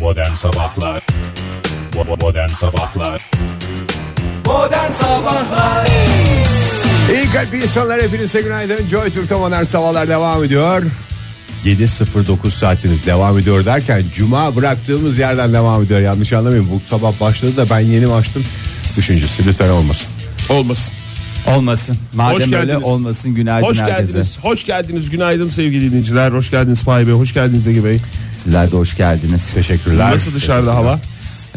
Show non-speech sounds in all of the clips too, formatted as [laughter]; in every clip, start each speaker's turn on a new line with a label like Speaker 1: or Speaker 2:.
Speaker 1: Modern Sabahlar Bo- Modern Sabahlar
Speaker 2: İyi kalp insanlar hepinize günaydın. Joy Türk'te modern sabahlar devam ediyor. 7.09 saatiniz devam ediyor derken Cuma bıraktığımız yerden devam ediyor. Yanlış anlamayın bu sabah başladı da ben yeni açtım. Düşüncesi lütfen olmasın.
Speaker 3: Olmasın.
Speaker 4: Olmasın. Madem
Speaker 3: Hoş
Speaker 4: öyle
Speaker 3: geldiniz.
Speaker 4: olmasın günaydın
Speaker 3: Hoş
Speaker 4: herkese.
Speaker 3: geldiniz. Hoş geldiniz. Günaydın sevgili dinleyiciler. Hoş geldiniz Fahri Bey. Hoş geldiniz Ege Bey.
Speaker 4: Sizler de hoş geldiniz.
Speaker 2: Teşekkürler.
Speaker 3: Nasıl dışarıda hava?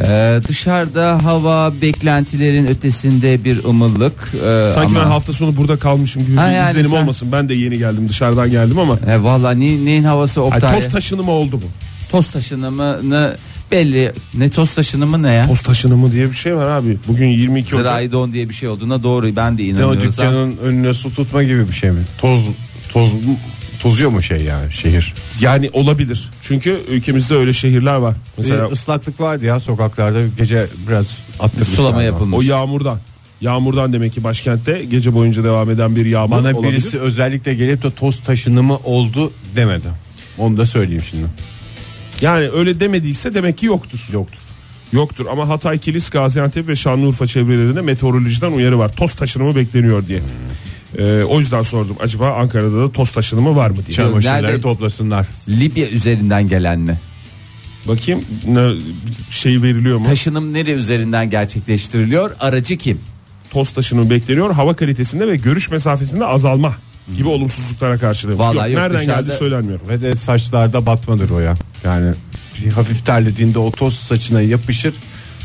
Speaker 4: Ee, dışarıda hava beklentilerin ötesinde bir ımıllık. Ee,
Speaker 3: Sanki
Speaker 4: ama-
Speaker 3: ben hafta sonu burada kalmışım gibi
Speaker 4: Ha
Speaker 3: bir
Speaker 4: yani
Speaker 3: izlenim
Speaker 4: sen-
Speaker 3: olmasın. Ben de yeni geldim dışarıdan geldim ama.
Speaker 4: He, valla ne, e, neyin havası
Speaker 3: Ay,
Speaker 4: Oktay?
Speaker 3: toz taşını mı oldu bu?
Speaker 4: toz taşınımını belli. Ne toz taşınımı ne ya?
Speaker 3: Toz taşını mı diye bir şey var abi. Bugün 22 Ocak.
Speaker 4: Zirai don diye bir şey olduğuna doğru ben de
Speaker 2: Ne o
Speaker 4: inanıyorum.
Speaker 2: dükkanın önüne su tutma gibi bir şey mi? Toz toz tozuyor mu şey yani şehir?
Speaker 3: Yani olabilir. Çünkü ülkemizde öyle şehirler var. Mesela
Speaker 2: Mesela
Speaker 4: Ee,
Speaker 2: ıslaklık vardı ya sokaklarda gece biraz attırmışlar.
Speaker 4: Sulama
Speaker 2: galiba.
Speaker 4: yapılmış.
Speaker 3: o yağmurdan. Yağmurdan demek ki başkentte gece boyunca devam eden bir yağmur
Speaker 2: Bana
Speaker 3: olabilir.
Speaker 2: birisi özellikle gelip de toz taşınımı oldu demedi. Onu da söyleyeyim şimdi.
Speaker 3: Yani öyle demediyse demek ki yoktur.
Speaker 2: Yoktur.
Speaker 3: Yoktur ama Hatay, Kilis, Gaziantep ve Şanlıurfa çevrelerinde meteorolojiden uyarı var. Toz taşınımı bekleniyor diye. Ee, o yüzden sordum acaba Ankara'da da toz taşınımı var mı diye.
Speaker 4: Çam-
Speaker 2: Çamaşırları
Speaker 4: Nerede?
Speaker 2: toplasınlar.
Speaker 4: Libya üzerinden gelen mi?
Speaker 3: Bakayım ne, şey veriliyor mu?
Speaker 4: Taşınım nere üzerinden gerçekleştiriliyor? Aracı kim?
Speaker 3: toz taşınımı bekleniyor. Hava kalitesinde ve görüş mesafesinde azalma gibi olumsuzluklara karşı demiş.
Speaker 4: Vallahi yok,
Speaker 3: nereden
Speaker 4: dışarıda-
Speaker 3: geldi söylenmiyor.
Speaker 2: Ve de saçlarda batmadır o ya. Yani bir hafif terlediğinde o toz saçına yapışır.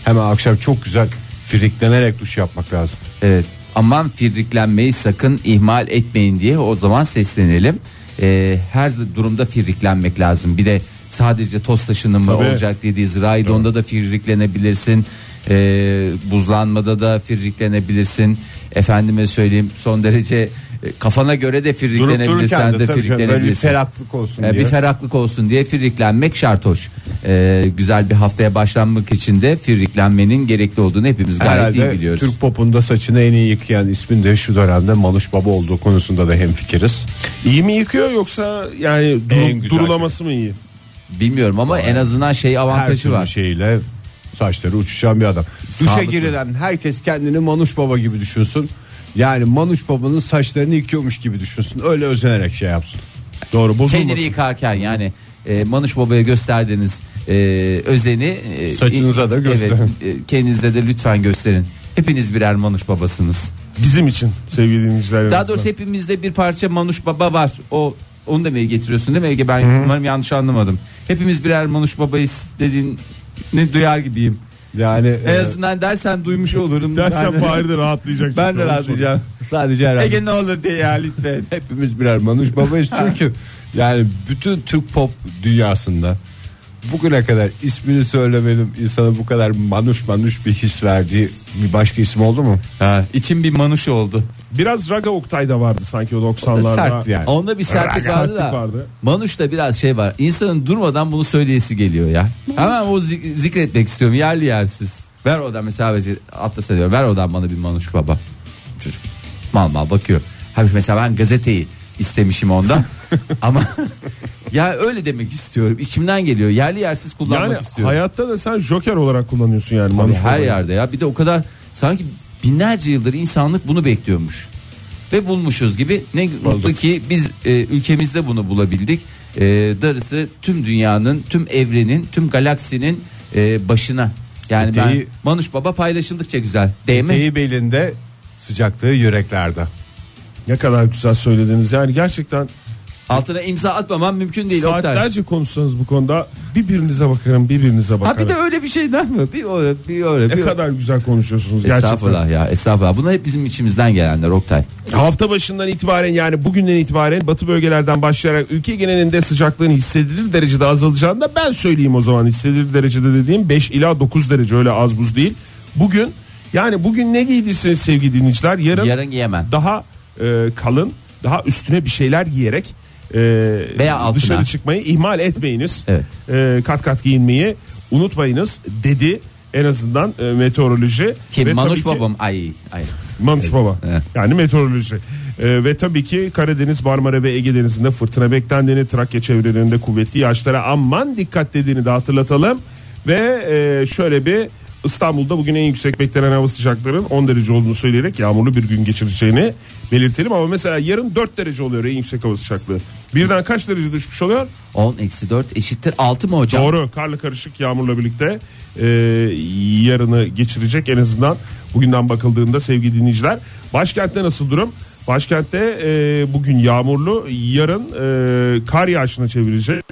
Speaker 2: Hemen akşam çok güzel friklenerek duş yapmak lazım.
Speaker 4: Evet. Ee, Aman firriklenmeyi sakın ihmal etmeyin diye o zaman seslenelim. Ee, her durumda firriklenmek lazım. Bir de sadece toz taşınımı
Speaker 3: Tabii.
Speaker 4: olacak dediği zirai donda da firriklenebilirsin. Ee, buzlanmada da firriklenebilirsin. Efendime söyleyeyim son derece e, kafana göre de
Speaker 2: Durup
Speaker 4: firriklenebilirsin.
Speaker 2: dururken
Speaker 4: Sen
Speaker 2: de
Speaker 4: de
Speaker 2: tabii canım, böyle bir
Speaker 4: firriklenebilirsin.
Speaker 2: ferahlık olsun
Speaker 4: Ee,
Speaker 2: diye.
Speaker 4: bir ferahlık olsun diye firriklenmek şart hoş. Ee, güzel bir haftaya başlanmak için de firriklenmenin gerekli olduğunu hepimiz gayet iyi
Speaker 2: Herhalde
Speaker 4: biliyoruz.
Speaker 2: Türk popunda saçını en iyi yıkayan ismin de şu dönemde Manuş Baba olduğu konusunda da hemfikiriz.
Speaker 3: İyi mi yıkıyor yoksa yani
Speaker 2: En
Speaker 3: durum,
Speaker 2: güzel
Speaker 3: durulaması mı iyi?
Speaker 4: Bilmiyorum ama en azından şey
Speaker 2: Her
Speaker 4: avantajı
Speaker 2: türlü
Speaker 4: var.
Speaker 2: şeyle saçları uçuşan bir adam. Duşa
Speaker 4: Sağlıklı.
Speaker 2: girilen herkes kendini Manuş Baba gibi düşünsün. Yani Manuş Baba'nın saçlarını yıkıyormuş gibi düşünsün. Öyle özenerek şey yapsın.
Speaker 3: Doğru
Speaker 2: şey
Speaker 4: Kendini
Speaker 3: bozulmasın.
Speaker 4: yıkarken yani e, Manuş Baba'ya gösterdiğiniz e, özeni e,
Speaker 2: Saçınıza da gösterin.
Speaker 4: Evet, e, kendinize de lütfen gösterin. Hepiniz birer Manuş Babasınız.
Speaker 3: Bizim için sevgili dinleyiciler. en
Speaker 4: Daha
Speaker 3: azından.
Speaker 4: doğrusu hepimizde bir parça Manuş Baba var. O onu demeye getiriyorsun değil mi Ege? Ben umarım yanlış anlamadım. Hepimiz birer Manuş Babayız dediğini duyar gibiyim.
Speaker 2: Yani
Speaker 4: En
Speaker 2: e,
Speaker 4: azından dersen duymuş olurum.
Speaker 3: Dersen
Speaker 4: ben de,
Speaker 3: Fahri de rahatlayacak.
Speaker 4: ben
Speaker 3: çünkü
Speaker 4: de
Speaker 3: onu
Speaker 4: razıyacağım.
Speaker 2: sadece herhalde
Speaker 4: Ege ne olur diye ya lütfen.
Speaker 2: hepimiz birer Manuş Baba'yız. Çünkü yani bütün Türk pop dünyasında bugüne kadar ismini söylemedim insana bu kadar Manuş Manuş bir his verdiği bir başka isim oldu mu?
Speaker 4: Ha, içim bir Manuş oldu.
Speaker 3: Biraz Raga Oktay da vardı sanki o
Speaker 2: O
Speaker 3: 90'larda.
Speaker 2: da sert yani.
Speaker 4: Onda bir sertlik
Speaker 3: Raga.
Speaker 4: vardı da.
Speaker 3: Sertlik vardı.
Speaker 4: Manuş'ta biraz şey var. İnsanın durmadan bunu söyleyesi geliyor ya. Hemen o zik- zikretmek istiyorum yerli yersiz. Ver oradan mesela bizi atlasa diyor. Ver oradan bana bir Manuş baba. Çocuk mal mal bakıyor. Halbuki mesela ben gazeteyi istemişim
Speaker 2: [laughs]
Speaker 4: ondan. Ama [laughs] ya öyle demek istiyorum. İçimden geliyor. Yerli yersiz kullanmak
Speaker 3: Yani
Speaker 4: istiyorum.
Speaker 3: hayatta da sen Joker olarak kullanıyorsun yani.
Speaker 4: Abi
Speaker 3: Manuş
Speaker 4: her
Speaker 3: Baba'yı.
Speaker 4: yerde ya. Bir de o kadar sanki binlerce yıldır insanlık bunu bekliyormuş. Ve bulmuşuz gibi ne mutlu ki biz e, ülkemizde bunu bulabildik. E, darısı tüm dünyanın, tüm evrenin, tüm galaksinin e, başına. Yani ben
Speaker 2: Eteği-
Speaker 4: Manuş Baba paylaşıldıkça güzel. Değil Şey mi?
Speaker 2: Eteği belinde sıcaklığı yüreklerde.
Speaker 3: Ne kadar güzel söylediniz. Yani gerçekten
Speaker 4: Altına imza atmamam mümkün değil Oktay.
Speaker 3: saatlerce konuşsanız bu konuda birbirinize bakarım birbirinize bakarım.
Speaker 4: Ha bir de öyle bir şeyden mi? Bir öyle bir öyle.
Speaker 3: ne
Speaker 4: Bir
Speaker 3: kadar güzel konuşuyorsunuz gerçekten.
Speaker 4: Estağfurullah ya estağfurullah. Bunlar hep bizim içimizden gelenler Oktay.
Speaker 3: Hafta başından itibaren yani bugünden itibaren batı bölgelerden başlayarak ülke genelinde sıcaklığın hissedilir derecede azalacağını da ben söyleyeyim o zaman. Hissedilir derecede dediğim 5 ila 9 derece öyle az buz değil. Bugün yani bugün ne giydiyseniz sevgili dinleyiciler yarın,
Speaker 4: Yarın yiyemem.
Speaker 3: daha e, kalın daha üstüne bir şeyler giyerek e,
Speaker 4: Veya altına.
Speaker 3: dışarı çıkmayı ihmal etmeyiniz.
Speaker 4: Evet.
Speaker 3: E, kat kat giyinmeyi unutmayınız dedi en azından e, meteoroloji. Ve
Speaker 4: Kim?
Speaker 3: tabii
Speaker 4: Manuş
Speaker 3: ki-
Speaker 4: babam. Ay ay.
Speaker 3: Manuş Baba.
Speaker 4: Evet.
Speaker 3: Yani meteoroloji. Ee, ve tabii ki Karadeniz, Marmara ve Ege Denizi'nde fırtına beklendiğini, Trakya çevrelerinde kuvvetli yağışlara aman dikkat dediğini de hatırlatalım. Ve e, şöyle bir İstanbul'da bugün en yüksek beklenen hava sıcaklığının 10 derece olduğunu söyleyerek yağmurlu bir gün geçireceğini belirtelim. Ama mesela yarın 4 derece oluyor en yüksek hava sıcaklığı. Birden kaç derece düşmüş oluyor?
Speaker 4: 10 eksi 4 eşittir 6 mı hocam?
Speaker 3: Doğru karla karışık yağmurla birlikte e, yarını geçirecek en azından bugünden bakıldığında sevgili dinleyiciler. Başkentte nasıl durum? Başkentte e, bugün yağmurlu yarın e, kar yağışına çevirecek.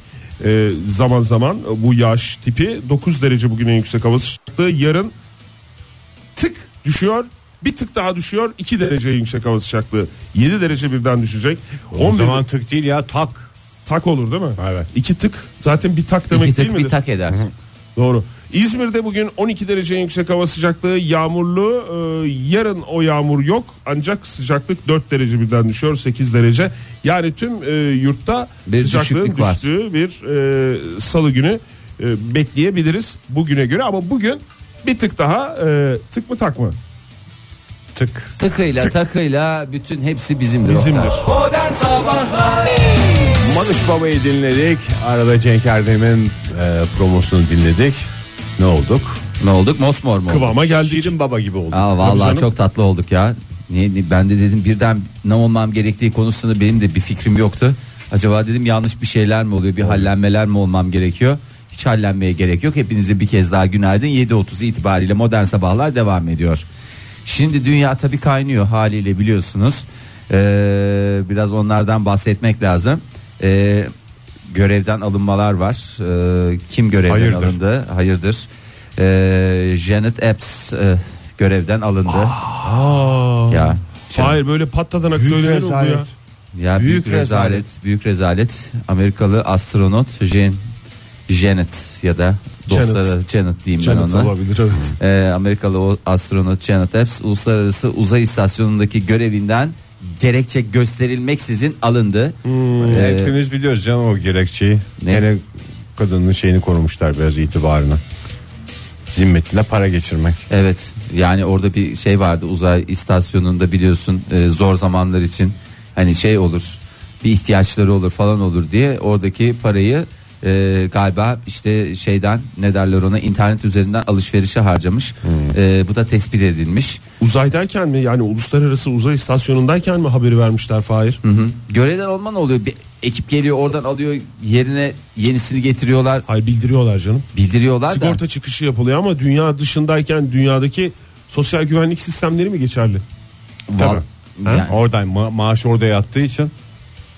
Speaker 3: E, zaman zaman bu yağış tipi 9 derece bugün en yüksek hava sıcaklığı yarın tık düşüyor. Bir tık daha düşüyor 2 derece yüksek hava sıcaklığı 7 derece birden düşecek.
Speaker 2: O
Speaker 3: 11
Speaker 2: zaman tık değil ya tak.
Speaker 3: tak olur değil mi?
Speaker 2: Evet.
Speaker 3: İki tık zaten bir tak demek
Speaker 4: İki
Speaker 3: değil
Speaker 4: tık
Speaker 3: midir?
Speaker 4: bir tak eder.
Speaker 3: Doğru. İzmir'de bugün 12 derece yüksek hava sıcaklığı yağmurlu. Ee, yarın o yağmur yok ancak sıcaklık 4 derece birden düşüyor 8 derece. Yani tüm e, yurtta
Speaker 4: Bir
Speaker 3: sıcaklığın
Speaker 4: düşüklük var.
Speaker 3: düştüğü bir e, salı günü e, bekleyebiliriz bugüne göre. Ama bugün bir tık daha e, tık mı tak mı?
Speaker 2: Tık.
Speaker 4: Takıyla takıyla bütün hepsi bizimdir.
Speaker 3: Bizimdir.
Speaker 4: Oktay.
Speaker 2: Manuş Baba'yı dinledik. Arada Cenk Erdem'in e, promosunu dinledik. Ne olduk?
Speaker 4: Ne olduk? Mosmor mu? olduk?
Speaker 3: Kıvama geldi.
Speaker 2: Şirin Baba gibi olduk.
Speaker 4: Aa,
Speaker 3: Tabii
Speaker 4: vallahi
Speaker 3: canım.
Speaker 4: çok tatlı olduk ya. Niye, ni- ben de dedim birden ne olmam gerektiği konusunda benim de bir fikrim yoktu. Acaba dedim yanlış bir şeyler mi oluyor? Bir hallenmeler mi olmam gerekiyor? Hiç hallenmeye gerek yok. Hepinize bir kez daha günaydın. 7.30 itibariyle modern sabahlar devam ediyor. Şimdi dünya tabii kaynıyor haliyle biliyorsunuz. Ee, biraz onlardan bahsetmek lazım. Ee, görevden alınmalar var. Ee, kim görevden
Speaker 2: Hayırdır?
Speaker 4: alındı? Hayırdır. Ee, Janet Epps e, görevden alındı. ya.
Speaker 3: Hayır böyle patladan
Speaker 2: Büyük
Speaker 3: söylenir mi bu ya?
Speaker 2: rezalet.
Speaker 4: Ya büyük,
Speaker 2: Büyük
Speaker 4: rezalet,
Speaker 2: rezalet.
Speaker 4: büyük rezalet. Amerikalı astronot Jen Janet ya da
Speaker 3: Janet.
Speaker 4: dostları Janet, diyeyim
Speaker 3: Cennet
Speaker 4: ben ona.
Speaker 3: olabilir evet.
Speaker 4: Ee, Amerikalı o astronot Janet Epps uluslararası uzay istasyonundaki görevinden gerekçe gösterilmeksizin alındı. Ee,
Speaker 2: Hepimiz biliyoruz canım o gerekçeyi.
Speaker 4: Ne?
Speaker 2: Hele kadının şeyini korumuşlar biraz itibarını. Zimmetine para geçirmek.
Speaker 4: Evet yani orada bir şey vardı uzay istasyonunda biliyorsun e, zor zamanlar için hani şey olur bir ihtiyaçları olur falan olur diye oradaki parayı e, galiba işte şeyden ne derler ona internet üzerinden alışverişe harcamış E, bu da tespit edilmiş
Speaker 3: Uzaydayken mi yani uluslararası uzay istasyonundayken mi haberi vermişler Fahir?
Speaker 4: hı hı. görevden olma ne oluyor bir ekip geliyor oradan alıyor yerine yenisini getiriyorlar
Speaker 3: Hayır bildiriyorlar canım.
Speaker 4: bildiriyorlar da
Speaker 3: Sigorta çıkışı yapılıyor ama dünya dışındayken dünyadaki sosyal güvenlik sistemleri mi geçerli?
Speaker 4: Val-
Speaker 2: Ha?
Speaker 4: Yani-
Speaker 2: Oradan ma- maaş orada yattığı için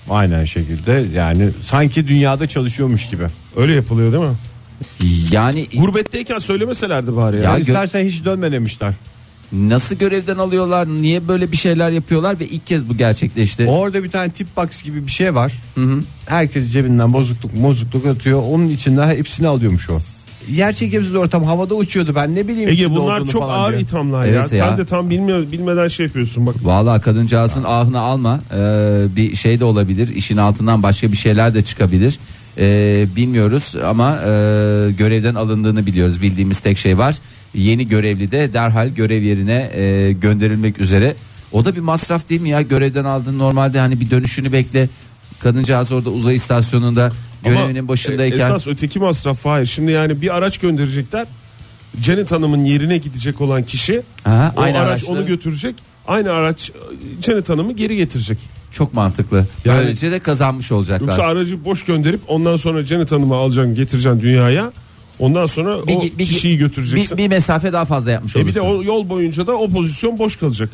Speaker 2: aynen şekilde yani sanki dünyada çalışıyormuş gibi.
Speaker 3: Öyle yapılıyor değil mi?
Speaker 4: yani
Speaker 3: Gurbetteyken söylemeselerdi bari ya.
Speaker 4: Ya
Speaker 2: Ya
Speaker 4: gö-
Speaker 2: istersen hiç dönme demişler.
Speaker 4: nasıl görevden alıyorlar niye böyle bir şeyler yapıyorlar ve ilk kez bu gerçekleşti
Speaker 2: Orada bir tane tip box gibi bir şey var. Herkes cebinden bozukluk bozukluk atıyor. Onun içinden hepsini alıyormuş o. Yer çekimsiz ortam havada uçuyordu ben ne bileyim.
Speaker 3: Ege
Speaker 2: içinde
Speaker 3: bunlar
Speaker 2: olduğunu
Speaker 3: çok
Speaker 2: falan
Speaker 3: ağır
Speaker 2: diye.
Speaker 3: ithamlar ya.
Speaker 4: Evet ya.
Speaker 3: Sen de tam bilmiyor, bilmeden şey yapıyorsun bak.
Speaker 4: Vallahi kadıncağızın ahını alma. Ee, bir şey de olabilir. İşin altından başka bir şeyler de çıkabilir. Ee, bilmiyoruz ama e, görevden alındığını biliyoruz. Bildiğimiz tek şey var. Yeni görevli de derhal görev yerine e, gönderilmek üzere. O da bir masraf değil mi ya? Görevden aldın normalde hani bir dönüşünü bekle. Kadıncağız orada uzay istasyonunda
Speaker 3: Ama
Speaker 4: görevinin başındayken.
Speaker 3: e, Esas öteki masraf Fahir. Şimdi yani bir araç gönderecekler. Janet Hanım'ın yerine gidecek olan kişi
Speaker 4: Aha,
Speaker 3: o
Speaker 4: aynı
Speaker 3: araç
Speaker 4: araçla.
Speaker 3: onu götürecek. Aynı araç e, Janet Hanım'ı geri getirecek.
Speaker 4: Çok mantıklı.
Speaker 3: Yani-
Speaker 4: Böylece de kazanmış olacaklar.
Speaker 3: Yoksa aracı boş gönderip ondan sonra Janet Hanım'ı alacaksın getireceksin dünyaya. Ondan sonra o
Speaker 4: Bir- bir-
Speaker 3: kişiyi götüreceksin.
Speaker 4: bir, bir mesafe daha fazla yapmış
Speaker 3: E
Speaker 4: olursun.
Speaker 3: bir de o yol boyunca da o pozisyon boş kalacak.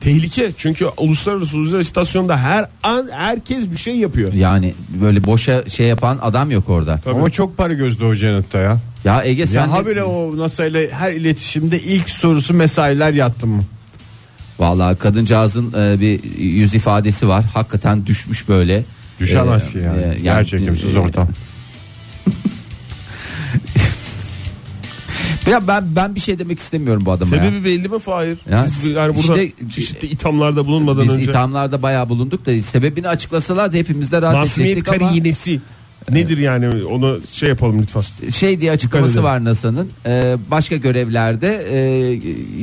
Speaker 3: Tehlike çünkü uluslararası uzay istasyonunda her an herkes bir şey yapıyor.
Speaker 4: Yani böyle boşa şey yapan adam yok orada.
Speaker 2: Ama çok para gözlü o Janet'ta ya.
Speaker 4: Ya Ege sen
Speaker 2: ya
Speaker 4: de-
Speaker 2: habire o NASA ile her iletişimde ilk sorusu mesailer yattı mı?
Speaker 4: Vallahi kadıncağızın e, bir yüz ifadesi var. Hakikaten düşmüş böyle.
Speaker 2: Düşemez
Speaker 4: E,
Speaker 2: ki yani.
Speaker 4: e,
Speaker 2: Yer çekimsiz
Speaker 4: e,
Speaker 2: ortam.
Speaker 4: Ya ben ben bir şey demek istemiyorum bu adama.
Speaker 3: Sebebi
Speaker 4: ya.
Speaker 3: belli mi Fahir?
Speaker 4: Ya
Speaker 3: Biz yani burada
Speaker 4: işte- e,
Speaker 3: çeşitli ithamlarda bulunmadan
Speaker 4: Biz
Speaker 3: önce
Speaker 4: ithamlarda bayağı bulunduk da sebebini açıklasalar da hepimiz de rahat
Speaker 3: masumiyet
Speaker 4: edecektik ama
Speaker 3: karinesi nedir yani onu şey yapalım lütfen.
Speaker 4: şey diye açıklaması
Speaker 3: Dikkat
Speaker 4: var NASA'nın. E, başka görevlerde e,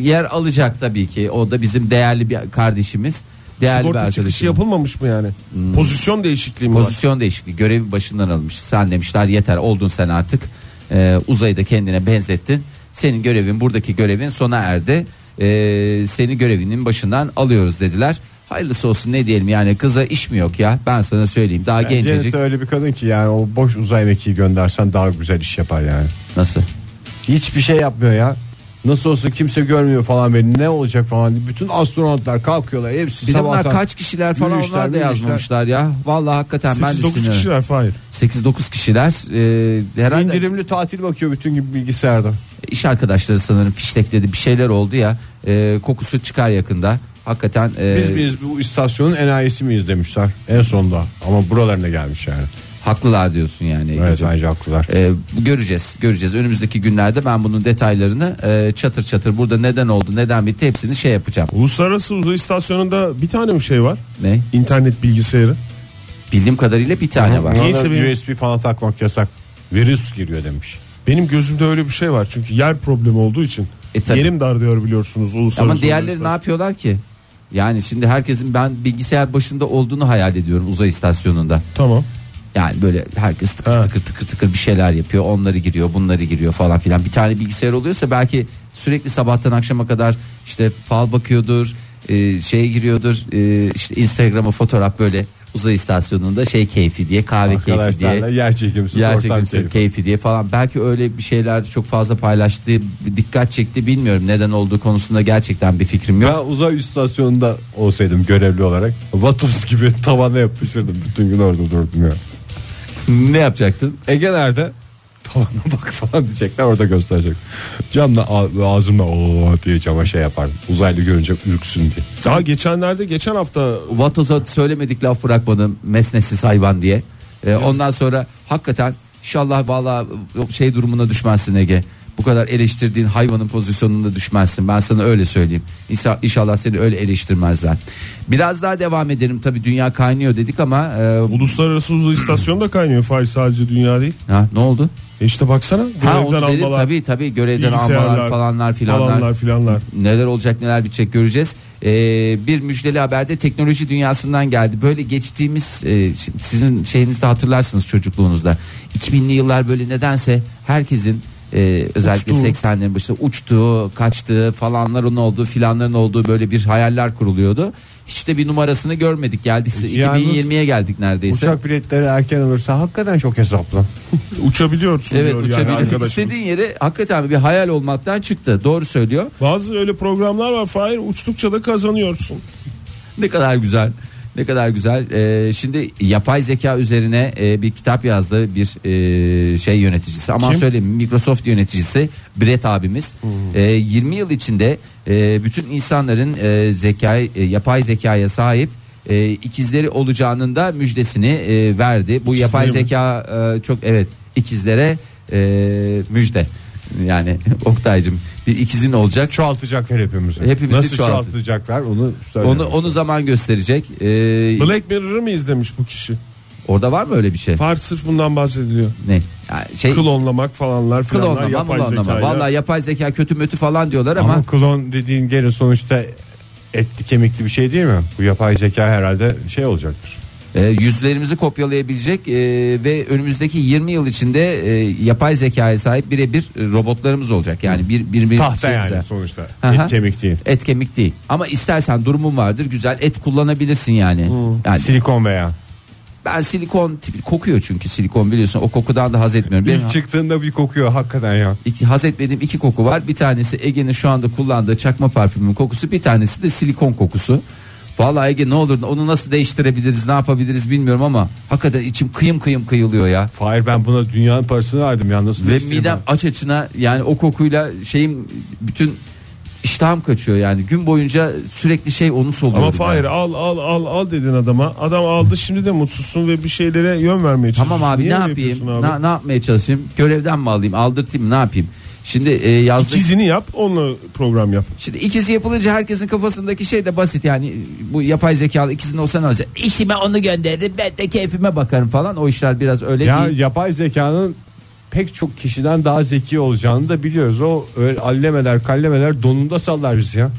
Speaker 4: yer alacak tabii ki. O da bizim değerli bir kardeşimiz. Değerli bir
Speaker 3: Sigorta
Speaker 4: arkadaşımız.
Speaker 3: çıkışı yapılmamış mı yani?
Speaker 4: Hmm.
Speaker 3: Pozisyon değişikliği mi var?
Speaker 4: Pozisyon değişikliği görevin başından alınmış. Sen demişler yeter oldun sen artık. e, uzayı da kendine benzettin. Senin görevin buradaki görevin sona erdi. E, seni görevinin başından alıyoruz dediler. Hayırlısı olsun ne diyelim yani kıza iş mi yok ya ben sana söyleyeyim daha
Speaker 2: Cennet
Speaker 4: gencecik
Speaker 2: öyle bir kadın ki yani o boş uzay mekiği göndersen daha güzel iş yapar yani.
Speaker 4: nasıl
Speaker 2: Hiçbir şey yapmıyor ya. Nasıl olsa kimse görmüyor falan beni ne olacak falan diye. Bütün astronotlar kalkıyorlar hepsi
Speaker 4: bir de bunlar
Speaker 2: sabahtan.
Speaker 4: kaç kişiler falan
Speaker 2: yürüyüşler,
Speaker 4: onlar da
Speaker 2: yürüyüşler.
Speaker 4: yazmamışlar ya vallahi hakikaten ben de
Speaker 3: 8-9
Speaker 4: sinirlendim.
Speaker 3: kişiler Fahir.
Speaker 4: 8-9 kişiler e, herhalde
Speaker 2: İndirimli tatil bakıyor bütün gibi bilgisayarda.
Speaker 4: iş arkadaşları sanırım fiştekledi bir şeyler oldu ya e, kokusu çıkar yakında hakikaten e,
Speaker 2: Biz miyiz bu istasyonun enayisi miyiz demişler en sonda. Ama buralarına gelmiş yani.
Speaker 4: haklılar diyorsun yani
Speaker 2: Evet
Speaker 4: Ege'ciğim.
Speaker 2: bence haklılar.
Speaker 4: E, bu- göreceğiz göreceğiz önümüzdeki günlerde ben bunun detaylarını e, çatır çatır burada neden oldu neden bitti hepsini şey yapacağım
Speaker 3: Uluslararası Uzay İstasyonu'nda bir tane mi şey var?
Speaker 4: ne
Speaker 3: İnternet bilgisayarı.
Speaker 4: bildiğim kadarıyla bir tane var
Speaker 3: Neyse
Speaker 2: Ona
Speaker 3: benim-
Speaker 2: USB falan takmak yasak. Virüs giriyor demiş.
Speaker 3: Benim gözümde öyle bir şey var. Çünkü yer problemi olduğu için.
Speaker 4: E, tabii.
Speaker 3: Yerim dar diyor biliyorsunuz uluslararası.
Speaker 4: ama
Speaker 3: Uzay
Speaker 4: diğerleri ne
Speaker 3: İstasyonu.
Speaker 4: yapıyorlar ki yani şimdi herkesin ben bilgisayar başında olduğunu hayal ediyorum uzay istasyonunda
Speaker 3: Tamam.
Speaker 4: Yani böyle herkes tıkır
Speaker 3: Ha.
Speaker 4: tıkır tıkır tıkır bir şeyler yapıyor. Onları giriyor, bunları giriyor falan filan. Bir tane bilgisayar oluyorsa belki sürekli sabahtan akşama kadar işte fal bakıyordur, e, şeye giriyordur. e, işte Instagram'a fotoğraf böyle uzay istasyonunda şey keyfi diye, kahve keyfi diye.
Speaker 2: Arkadaşlarla yer çekimsiz
Speaker 4: Yer
Speaker 2: ortam
Speaker 4: çekimsiz
Speaker 2: telefonu.
Speaker 4: keyfi diye falan belki öyle bir şeyler çok fazla paylaştı dikkat çekti bilmiyorum neden olduğu konusunda gerçekten bir fikrim yok.
Speaker 2: Ben uzay istasyonunda olsaydım görevli olarak Vatos gibi [laughs] tavana yapışırdım. Bütün gün orada durdum ya.
Speaker 4: ne yapacaktın? E,
Speaker 2: Ege nerede? Tavana bak falan diyecekler orada gösterecek. Camla a- ağzımla o diye cama şey yapardım. Uzaylı görünce ürksün diye.
Speaker 3: Daha geçenlerde geçen hafta
Speaker 4: Vatoz'a söylemedik laf bırakmadım mesnesiz hayvan diye. Ee, ondan sonra hakikaten inşallah valla şey durumuna düşmezsin Ege. Bu kadar eleştirdiğin hayvanın pozisyonunda düşmezsin. Ben sana öyle söyleyeyim. İnşa- İnşallah seni öyle eleştirmezler. Biraz daha devam edelim. Tabii dünya kaynıyor dedik ama e,
Speaker 3: Uluslararası Uzay İstasyonu da kaynıyor. Faiz sadece dünya değil.
Speaker 4: ha, ne oldu?
Speaker 3: E işte baksana
Speaker 4: Ha, onu
Speaker 3: görevden
Speaker 4: dedim.
Speaker 3: almalar,
Speaker 4: Tabii tabii görevden
Speaker 3: bilgisayarlar,
Speaker 4: almalar falanlar filanlar.
Speaker 3: falanlar filanlar.
Speaker 4: Neler olacak neler bitecek göreceğiz. Ee, bir müjdeli haberde teknoloji dünyasından geldi. Böyle geçtiğimiz e, şimdi sizin şeyinizde hatırlarsınız çocukluğunuzda. 2000'li yıllar böyle nedense herkesin e, özellikle
Speaker 3: Uçtuğu.
Speaker 4: 80'lerin başında uçtuğu, kaçtığı falanların olduğu filanların olduğu böyle bir hayaller kuruluyordu. Hiç de bir numarasını görmedik. Geldik
Speaker 2: Yalnız
Speaker 4: 2020'ye geldik neredeyse.
Speaker 2: Uçak biletleri erken olursa hakikaten çok hesaplı.
Speaker 3: Uçabiliyorsun
Speaker 4: Evet
Speaker 3: diyor yani
Speaker 4: uçabilir.
Speaker 3: arkadaşımız.
Speaker 4: İstediğin yere hakikaten bir hayal olmaktan çıktı. Doğru söylüyor.
Speaker 3: Bazı öyle programlar var Fahir uçtukça da kazanıyorsun.
Speaker 4: Ne kadar güzel. Ne kadar güzel. Ee, şimdi yapay zeka üzerine e, bir kitap yazdı bir e, şey yöneticisi. Aman
Speaker 3: Kim?
Speaker 4: söyleyeyim Microsoft yöneticisi Brett abimiz.
Speaker 2: Hmm.
Speaker 4: E, 20 yıl içinde e, bütün insanların e, zeka e, yapay zekaya sahip e, ikizleri olacağının da müjdesini e, verdi. Bu yapay
Speaker 3: mi?
Speaker 4: zeka e, çok evet ikizlere e, müjde. Yani [laughs] Oktay'cım bir ikizin olacak.
Speaker 2: Çoğaltacaklar hepimizi.
Speaker 4: Hepimizi
Speaker 2: Nasıl
Speaker 4: çoğaltır.
Speaker 2: çoğaltacaklar onu söyleyeyim.
Speaker 4: Onu onu zaman gösterecek. Ee,
Speaker 3: Black Mirror'ı mı izlemiş bu kişi?
Speaker 4: orada var mı öyle bir şey?
Speaker 3: Fahir sırf bundan bahsediliyor.
Speaker 4: Ne? Yani şey
Speaker 3: Klonlamak falanlar filanlar
Speaker 4: klonlama,
Speaker 3: yapay
Speaker 4: klonlama.
Speaker 3: zekayla.
Speaker 4: Vallahi yapay zeka kötü mötü falan diyorlar ama,
Speaker 2: Ama klon dediğin geri sonuçta etli kemikli bir şey değil mi? Bu yapay zeka herhalde şey olacaktır.
Speaker 4: e, yüzlerimizi kopyalayabilecek e, ve önümüzdeki 20 yıl içinde e, yapay zekaya sahip birebir e, robotlarımız olacak. Yani bir bir bir
Speaker 2: Tahta
Speaker 4: şeyimize-
Speaker 2: yani sonuçta.
Speaker 4: Aha.
Speaker 2: Et kemik değil.
Speaker 4: Et kemik değil. Ama istersen durumun vardır güzel et kullanabilirsin yani.
Speaker 2: Hmm.
Speaker 4: Yani
Speaker 2: Silikon veya.
Speaker 4: ben silikon tipi kokuyor çünkü silikon biliyorsun o kokudan da haz etmiyorum. Benim
Speaker 2: İlk çıktığında bir kokuyor hakikaten ya.
Speaker 4: iki, haz etmediğim iki koku var. Bir tanesi Ege'nin şu anda kullandığı çakma parfümün kokusu, bir tanesi de silikon kokusu. Vallahi Ege ne olur onu nasıl değiştirebiliriz, ne yapabiliriz bilmiyorum ama hakikaten içim kıyım kıyım kıyılıyor ya.
Speaker 2: Fahir ben buna dünyanın parasını verdim ya nasıl
Speaker 4: Ve
Speaker 2: değiştireyim
Speaker 4: midem aç açına yani o kokuyla şeyim bütün iştahım kaçıyor yani. Gün boyunca sürekli şey onu soluyorum.
Speaker 3: Ama Fahir
Speaker 4: yani.
Speaker 3: al al al al dedin adama. Adam aldı şimdi de mutsuzsun ve bir şeylere yön vermeye çalışıyorsun.
Speaker 4: Tamam abi
Speaker 3: Niye
Speaker 4: ne
Speaker 3: öyle
Speaker 4: yapayım?
Speaker 3: yapıyorsun abi?
Speaker 4: Ne, ne yapmaya çalışayım? Görevden mi alayım? Aldırtayım mı, ne yapayım? Şimdi e, yazdık.
Speaker 3: İkizini yap onunla program yap.
Speaker 4: Şimdi ikisi yapılınca herkesin kafasındaki şey de basit yani bu yapay zekalı ikisinin olsa ne olacak? İşime onu gönderdim ben de keyfime bakarım falan o işler biraz öyle
Speaker 2: ben? Ya
Speaker 4: değil.
Speaker 2: yapay zekanın pek çok kişiden daha zeki olacağını da biliyoruz. O öyle allemeler kallemeler donunda sallar bizi ya.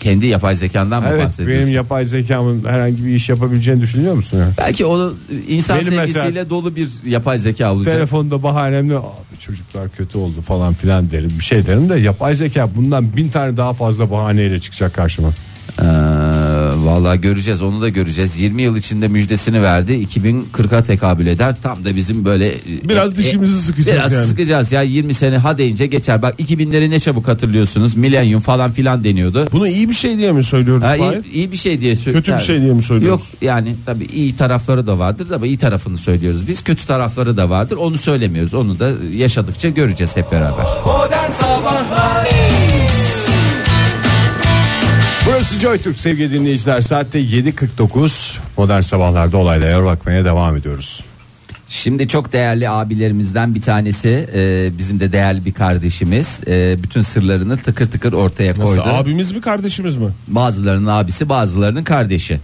Speaker 4: Kendi yapay zekandan mı
Speaker 2: Evet
Speaker 4: bahsediyorsun?
Speaker 2: benim yapay zekamın herhangi bir iş yapabileceğini düşünüyor musun ya?
Speaker 4: Belki o insan
Speaker 2: Benim mesela-
Speaker 4: sevgisiyle dolu bir yapay zeka olacak.
Speaker 2: Telefonda bahanemle abi çocuklar kötü oldu falan filan derim bir şey derim de yapay zeka bundan bin tane daha fazla bahaneyle çıkacak karşıma.
Speaker 4: Ee, vallahi göreceğiz onu da göreceğiz. 20 yıl içinde müjdesini verdi. 2040'a tekabül eder. Tam da bizim böyle e,
Speaker 3: Biraz dişimizi sıkacağız
Speaker 4: biraz
Speaker 3: yani.
Speaker 4: sıkacağız ya 20 sene ha deyince geçer. Bak 2000'leri ne çabuk hatırlıyorsunuz. Milenyum falan filan deniyordu.
Speaker 3: Bunu iyi bir şey diye mi söylüyoruz?
Speaker 4: Ha,
Speaker 3: Fahir?
Speaker 4: iyi, iyi bir şey diye söylüyoruz.
Speaker 3: Kötü bir şey diye mi söylüyoruz?
Speaker 4: Yok yani tabii iyi tarafları da vardır ama iyi tarafını söylüyoruz. Biz kötü tarafları da vardır. Onu söylemiyoruz. Onu da yaşadıkça göreceğiz hep beraber.
Speaker 2: Burası JoyTürk sevgili dinleyiciler saatte 7.49 modern sabahlarda olaylara bakmaya devam ediyoruz.
Speaker 4: Şimdi çok değerli abilerimizden bir tanesi e, bizim de değerli bir kardeşimiz e, bütün sırlarını tıkır tıkır ortaya koydu.
Speaker 3: Nasıl, abimiz mi kardeşimiz mi?
Speaker 4: Bazılarının abisi bazılarının kardeşi.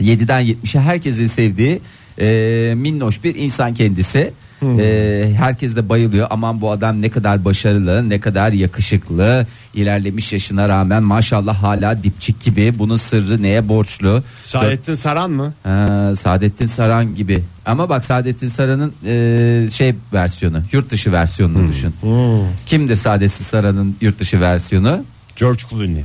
Speaker 4: 7'den 70'e herkesin sevdiği e, minnoş bir insan kendisi. E, herkes de bayılıyor aman bu adam ne kadar başarılı ne kadar yakışıklı ilerlemiş yaşına rağmen maşallah hala dipçik gibi bunun sırrı neye borçlu
Speaker 2: Saadettin Saran mı?
Speaker 4: Ha, Saadettin Saran gibi. Ama bak Saadettin Saran'ın e, şey versiyonu, yurt dışı versiyonunu düşün. Kimdir Saadettin Saran'ın yurt dışı versiyonu?
Speaker 2: George Clooney.